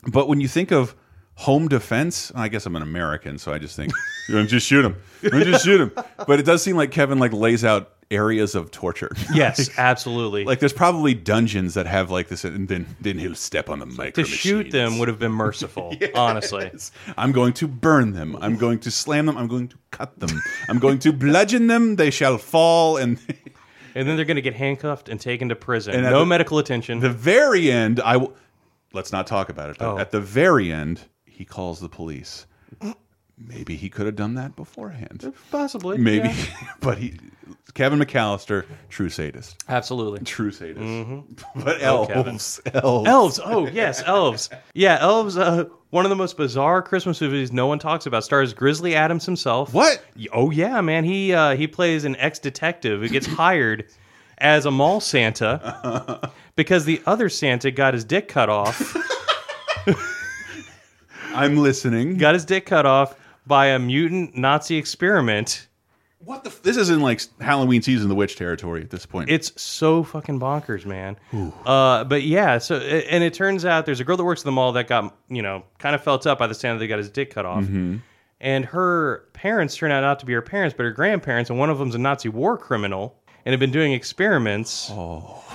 Speaker 1: but when you think of home defense, I guess I'm an American, so I just think [laughs] just shoot him, just shoot him. But it does seem like Kevin like lays out areas of torture. [laughs]
Speaker 2: Yes, absolutely.
Speaker 1: Like there's probably dungeons that have like this, and then then he'll step on the micro.
Speaker 2: to shoot them would have been
Speaker 1: [laughs]
Speaker 2: merciful, honestly.
Speaker 1: I'm going to burn them. I'm going to slam them. I'm going to cut them. I'm going to bludgeon them. They shall fall. And [laughs]
Speaker 2: And then they're going to get handcuffed and taken to prison.
Speaker 1: And at
Speaker 2: no
Speaker 1: the-
Speaker 2: medical attention.
Speaker 1: the very end, I will. Let's not talk about it. Though.
Speaker 2: Oh.
Speaker 1: At the very end, he calls the police. Maybe he could have done that beforehand.
Speaker 2: Possibly.
Speaker 1: Maybe,
Speaker 2: yeah.
Speaker 1: [laughs] but he, Kevin McAllister, true sadist.
Speaker 2: Absolutely.
Speaker 1: True sadist.
Speaker 2: Oh,
Speaker 1: But
Speaker 2: Kevin.
Speaker 1: elves, elves,
Speaker 2: Elves. Oh, yes, elves. Yeah, elves. Uh, one of the most bizarre Christmas movies no one talks about stars Grizzly Adams himself.
Speaker 1: What?
Speaker 2: Oh yeah, man. He uh, he plays an ex detective
Speaker 1: [laughs]
Speaker 2: who gets hired as a mall Santa
Speaker 1: [laughs]
Speaker 2: because the other Santa got his dick cut off.
Speaker 1: I'm listening.
Speaker 2: Got his dick cut off by a mutant Nazi experiment.
Speaker 1: What the? F this is in like Halloween season, the witch territory at this point.
Speaker 2: It's so fucking bonkers, man. Uh, but yeah, so and it turns out there's a girl that works at the mall that got you know kind of felt up by the Santa that got his dick cut off,
Speaker 1: Mhm.
Speaker 2: and her parents turn out not to be her parents, but her grandparents, and one of them's a Nazi war criminal and have been doing experiments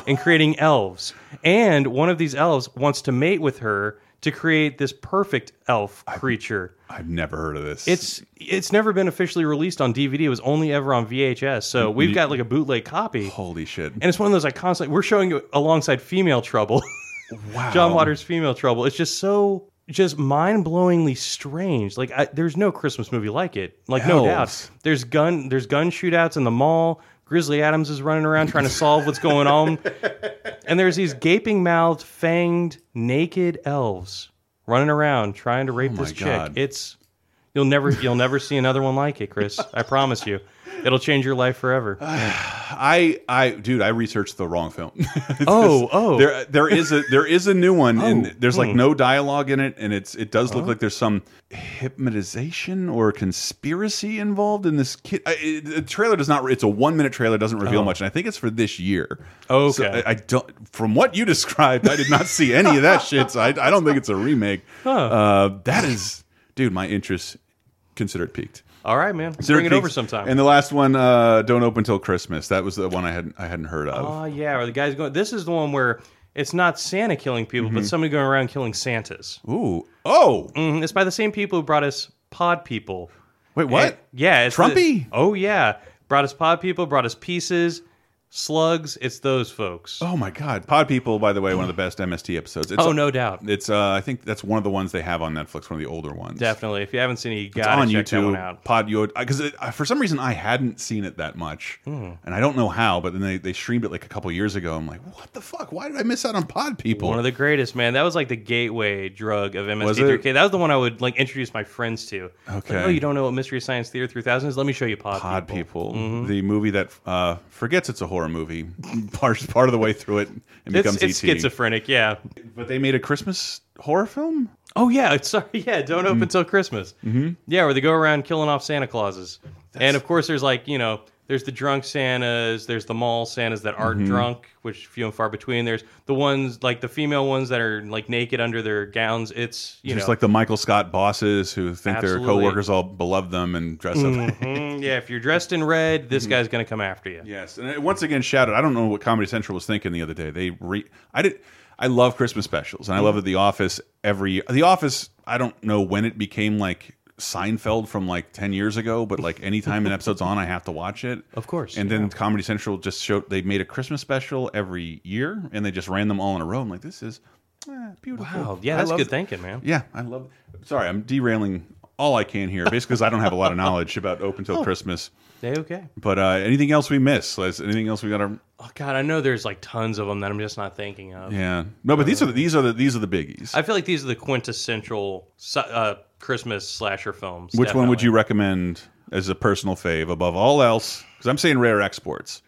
Speaker 2: and creating elves, and one of these elves wants to mate with her to create this perfect elf creature.
Speaker 1: I've never heard of this.
Speaker 2: It's it's never been officially released on DVD. It was only ever on VHS. So we've got like a bootleg copy.
Speaker 1: Holy shit!
Speaker 2: And it's one of those I constantly we're showing it alongside Female Trouble. [laughs]
Speaker 1: Wow.
Speaker 2: John Waters' Female Trouble. It's just so just mind-blowingly strange. Like I, there's no Christmas movie like it. Like no
Speaker 1: Elves.
Speaker 2: doubt. There's gun there's gun shootouts in the mall. Grizzly Adams is running around trying to solve what's
Speaker 1: [laughs]
Speaker 2: going on. And there's these gaping-mouthed, fanged, naked elves running around trying to rape
Speaker 1: Oh my
Speaker 2: this chick.
Speaker 1: God.
Speaker 2: It's you'll never you'll never see another one like it, Chris. I promise you. It'll change your life forever.
Speaker 1: Uh, I I dude, I researched the wrong film. [laughs]
Speaker 2: Oh, oh.
Speaker 1: There there is a there is a new one and
Speaker 2: Oh,
Speaker 1: there's like
Speaker 2: hmm.
Speaker 1: no dialogue in it and it's it does look
Speaker 2: Oh.
Speaker 1: like there's some hypnotization or conspiracy involved in this kid. I, it, the trailer does not it's a 1 minute trailer doesn't reveal
Speaker 2: Oh.
Speaker 1: much and I think it's for this year.
Speaker 2: Okay.
Speaker 1: So I, I don't from what you [laughs] described, I did not see any of that shit. So I I don't think it's a remake.
Speaker 2: Huh.
Speaker 1: Uh that is dude, my interest consider it peaked.
Speaker 2: All right, man.
Speaker 1: Zero
Speaker 2: Bring it
Speaker 1: Peaks.
Speaker 2: over sometime.
Speaker 1: And the last one, uh, don't open till Christmas. That was the one I hadn't I hadn't heard of.
Speaker 2: Oh yeah, or the guy's going. This is the one where it's not Santa killing people, but
Speaker 1: Mhm.
Speaker 2: somebody going around killing Santas.
Speaker 1: Ooh, oh,
Speaker 2: hmm it's by the same people who brought us Pod People.
Speaker 1: Wait, what?
Speaker 2: And- yeah, it's the-
Speaker 1: Trumpy?
Speaker 2: oh yeah, brought us Pod People, brought us Pieces, Slugs. It's those folks.
Speaker 1: Oh my God, Pod People, by the way, one of the best MST episodes.
Speaker 2: Oh, no doubt.
Speaker 1: It's uh, I think that's one of the ones they have on Netflix, one of the older ones.
Speaker 2: Definitely. If you haven't seen it, you
Speaker 1: It's
Speaker 2: gotta
Speaker 1: on
Speaker 2: check
Speaker 1: YouTube.
Speaker 2: that one out.
Speaker 1: Pod Yo, uh, because for some reason I hadn't seen it that much,
Speaker 2: Hmm.
Speaker 1: and I don't know how, but then they, they streamed it like a couple years ago. I'm like, what the fuck? Why did I miss out on Pod People?
Speaker 2: One of the greatest, man. That was like the gateway drug of
Speaker 1: Was
Speaker 2: MST3K. That was the one I would like introduce my friends to. Like,
Speaker 1: Okay.
Speaker 2: oh, you don't know what Mystery Science Theater 3000 is? Let me show you Pod,
Speaker 1: Pod People,
Speaker 2: Mhm.
Speaker 1: the movie that uh, forgets it's a horror movie, [laughs] part part of the way through it, and
Speaker 2: It's-
Speaker 1: becomes E
Speaker 2: it's
Speaker 1: ET.
Speaker 2: schizophrenic, yeah.
Speaker 1: But they made a Christmas horror film.
Speaker 2: Oh yeah, [laughs] it's- sorry, yeah. Don't open till Christmas.
Speaker 1: Mhm.
Speaker 2: Yeah, where they go around killing off Santa Clauses, and of course there's like you know there's the drunk Santas, there's the mall Santas that aren't
Speaker 1: Mhm.
Speaker 2: drunk, which few and far between. There's the ones like the female ones that are like naked under their gowns. It's you
Speaker 1: Just
Speaker 2: know
Speaker 1: like the Michael Scott bosses who think their
Speaker 2: Absolutely.
Speaker 1: coworkers all beloved them and dress up.
Speaker 2: [laughs] Mhm. yeah, if you're dressed in red, this guy's gonna come after you.
Speaker 1: [laughs] Yes, and I- once again, shout out. I don't know what Comedy Central was thinking the other day. They re I did. I love Christmas specials, and I love
Speaker 2: Mm.
Speaker 1: that The Office every The Office. I don't know when it became like Seinfeld from like ten years ago, but
Speaker 2: [laughs]
Speaker 1: like anytime an episode's on, I have to watch it.
Speaker 2: Of course.
Speaker 1: And then Comedy Central just showed they made a Christmas special every year, and they just ran them all in a row. I'm like, this is eh, beautiful.
Speaker 2: Wow, Oh, yeah,
Speaker 1: I
Speaker 2: that's
Speaker 1: love-
Speaker 2: good thinking, man.
Speaker 1: Yeah, I love. Sorry, I'm derailing all I can here, basically because I don't have a lot of knowledge about Open Till
Speaker 2: [laughs] Oh.
Speaker 1: Christmas.
Speaker 2: Hey, okay.
Speaker 1: But uh, anything else we miss? Les? Anything else we got? Our
Speaker 2: Oh God, I know there's like tons of them that I'm just not thinking of.
Speaker 1: yeah. No, but these are the, these are the these are the biggies.
Speaker 2: I feel like these are the quintessential si- uh, Christmas slasher films.
Speaker 1: Which one would
Speaker 2: definitely.
Speaker 1: you recommend as a personal fave above all else? Because I'm saying Rare Exports.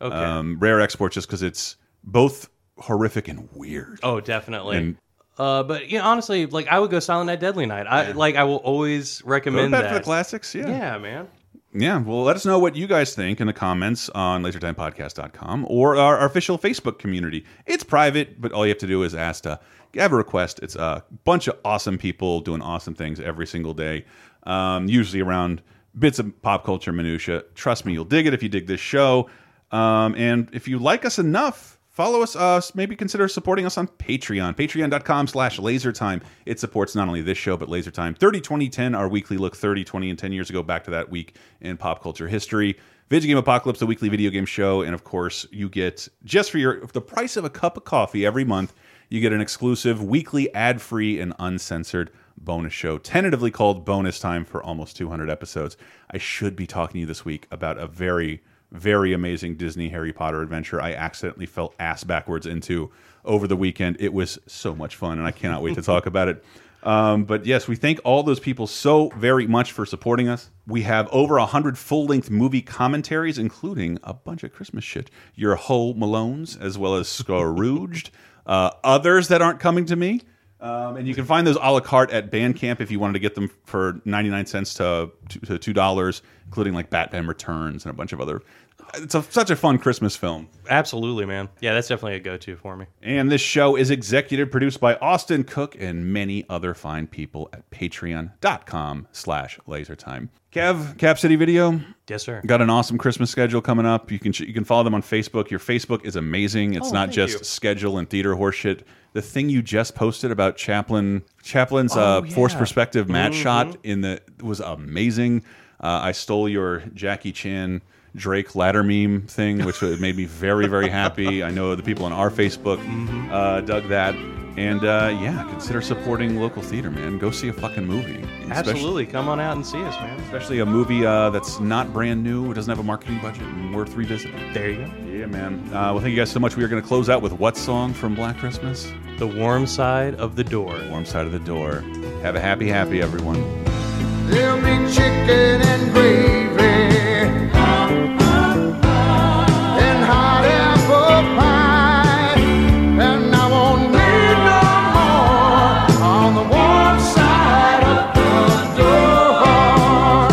Speaker 2: Okay.
Speaker 1: Um, Rare Exports just because it's both horrific and weird.
Speaker 2: Oh, definitely.
Speaker 1: And-
Speaker 2: uh, but you know, honestly, like I would go Silent Night, Deadly Night. I like I will always recommend
Speaker 1: back
Speaker 2: that
Speaker 1: to the classics, yeah.
Speaker 2: yeah, man.
Speaker 1: Yeah. Well, let us know what you guys think in the comments on lasertimepodcast.com or our, our official Facebook community. It's private, but all you have to do is ask to have a request. It's a bunch of awesome people doing awesome things every single day, um, usually around bits of pop culture minutia. Trust me, you'll dig it if you dig this show. Um, and if you like us enough, follow us uh, maybe consider supporting us on patreon patreon.com slash lasertime it supports not only this show but lasertime 30 20 10 our weekly look 30 20 and 10 years ago back to that week in pop culture history video game apocalypse the weekly video game show and of course you get just for your the price of a cup of coffee every month you get an exclusive weekly ad-free and uncensored bonus show tentatively called bonus time for almost 200 episodes i should be talking to you this week about a very very amazing Disney Harry Potter adventure I accidentally fell ass backwards into over the weekend. It was so much fun, and I cannot wait to talk about it. Um, but yes, we thank all those people so very much for supporting us. We have over 100 full length movie commentaries, including a bunch of Christmas shit. Your Ho Malones, as well as Scourged, uh, others that aren't coming to me. Um, and you can find those a la carte at Bandcamp if you wanted to get them for 99 cents to, to $2, including like Batman Returns and a bunch of other. It's a, such a fun Christmas film.
Speaker 2: Absolutely, man. Yeah, that's definitely a go-to for me.
Speaker 1: And this show is executive produced by Austin Cook and many other fine people at patreon.com slash lasertime. Kev, Cap City Video.
Speaker 2: Yes, sir.
Speaker 1: Got an awesome Christmas schedule coming up. You can you can follow them on Facebook. Your Facebook is amazing. It's
Speaker 2: Oh,
Speaker 1: not
Speaker 2: thank
Speaker 1: just
Speaker 2: you.
Speaker 1: schedule and theater horseshit. The thing you just posted about Chaplin Chaplin's uh,
Speaker 2: Oh,
Speaker 1: forced
Speaker 2: yeah.
Speaker 1: perspective match
Speaker 2: Mhm.
Speaker 1: shot in the was amazing. Uh, I stole your Jackie Chan Drake ladder meme thing,
Speaker 2: [laughs]
Speaker 1: which made me very very happy. I know the people on our Facebook
Speaker 2: Mm-hmm.
Speaker 1: uh, dug that, and uh, yeah, consider supporting local theater, man. Go see a fucking movie. Especially-
Speaker 2: Absolutely, come on out and see us, man.
Speaker 1: Especially a movie uh, that's not brand new, it doesn't have a marketing budget, and worth revisiting.
Speaker 2: There you go.
Speaker 1: Yeah, man. Uh, well, thank you guys so much. We are going to close out with what song from Black Christmas?
Speaker 2: The Warm Side of the Door.
Speaker 1: Warm Side of the Door. Have a happy, happy, everyone.
Speaker 10: There'll be chicken and gravy and hot apple pie, and I won't need no more on the warm side of the door.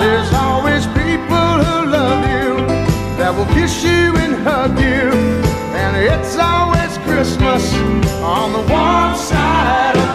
Speaker 10: There's always people who love you that will kiss you and hug you, and it's always Christmas on the warm side of the door.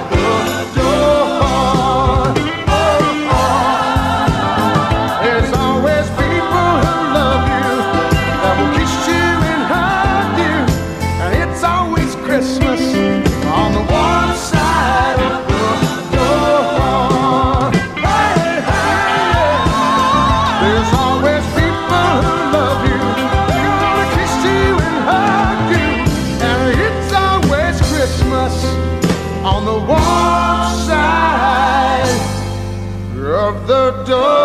Speaker 10: door.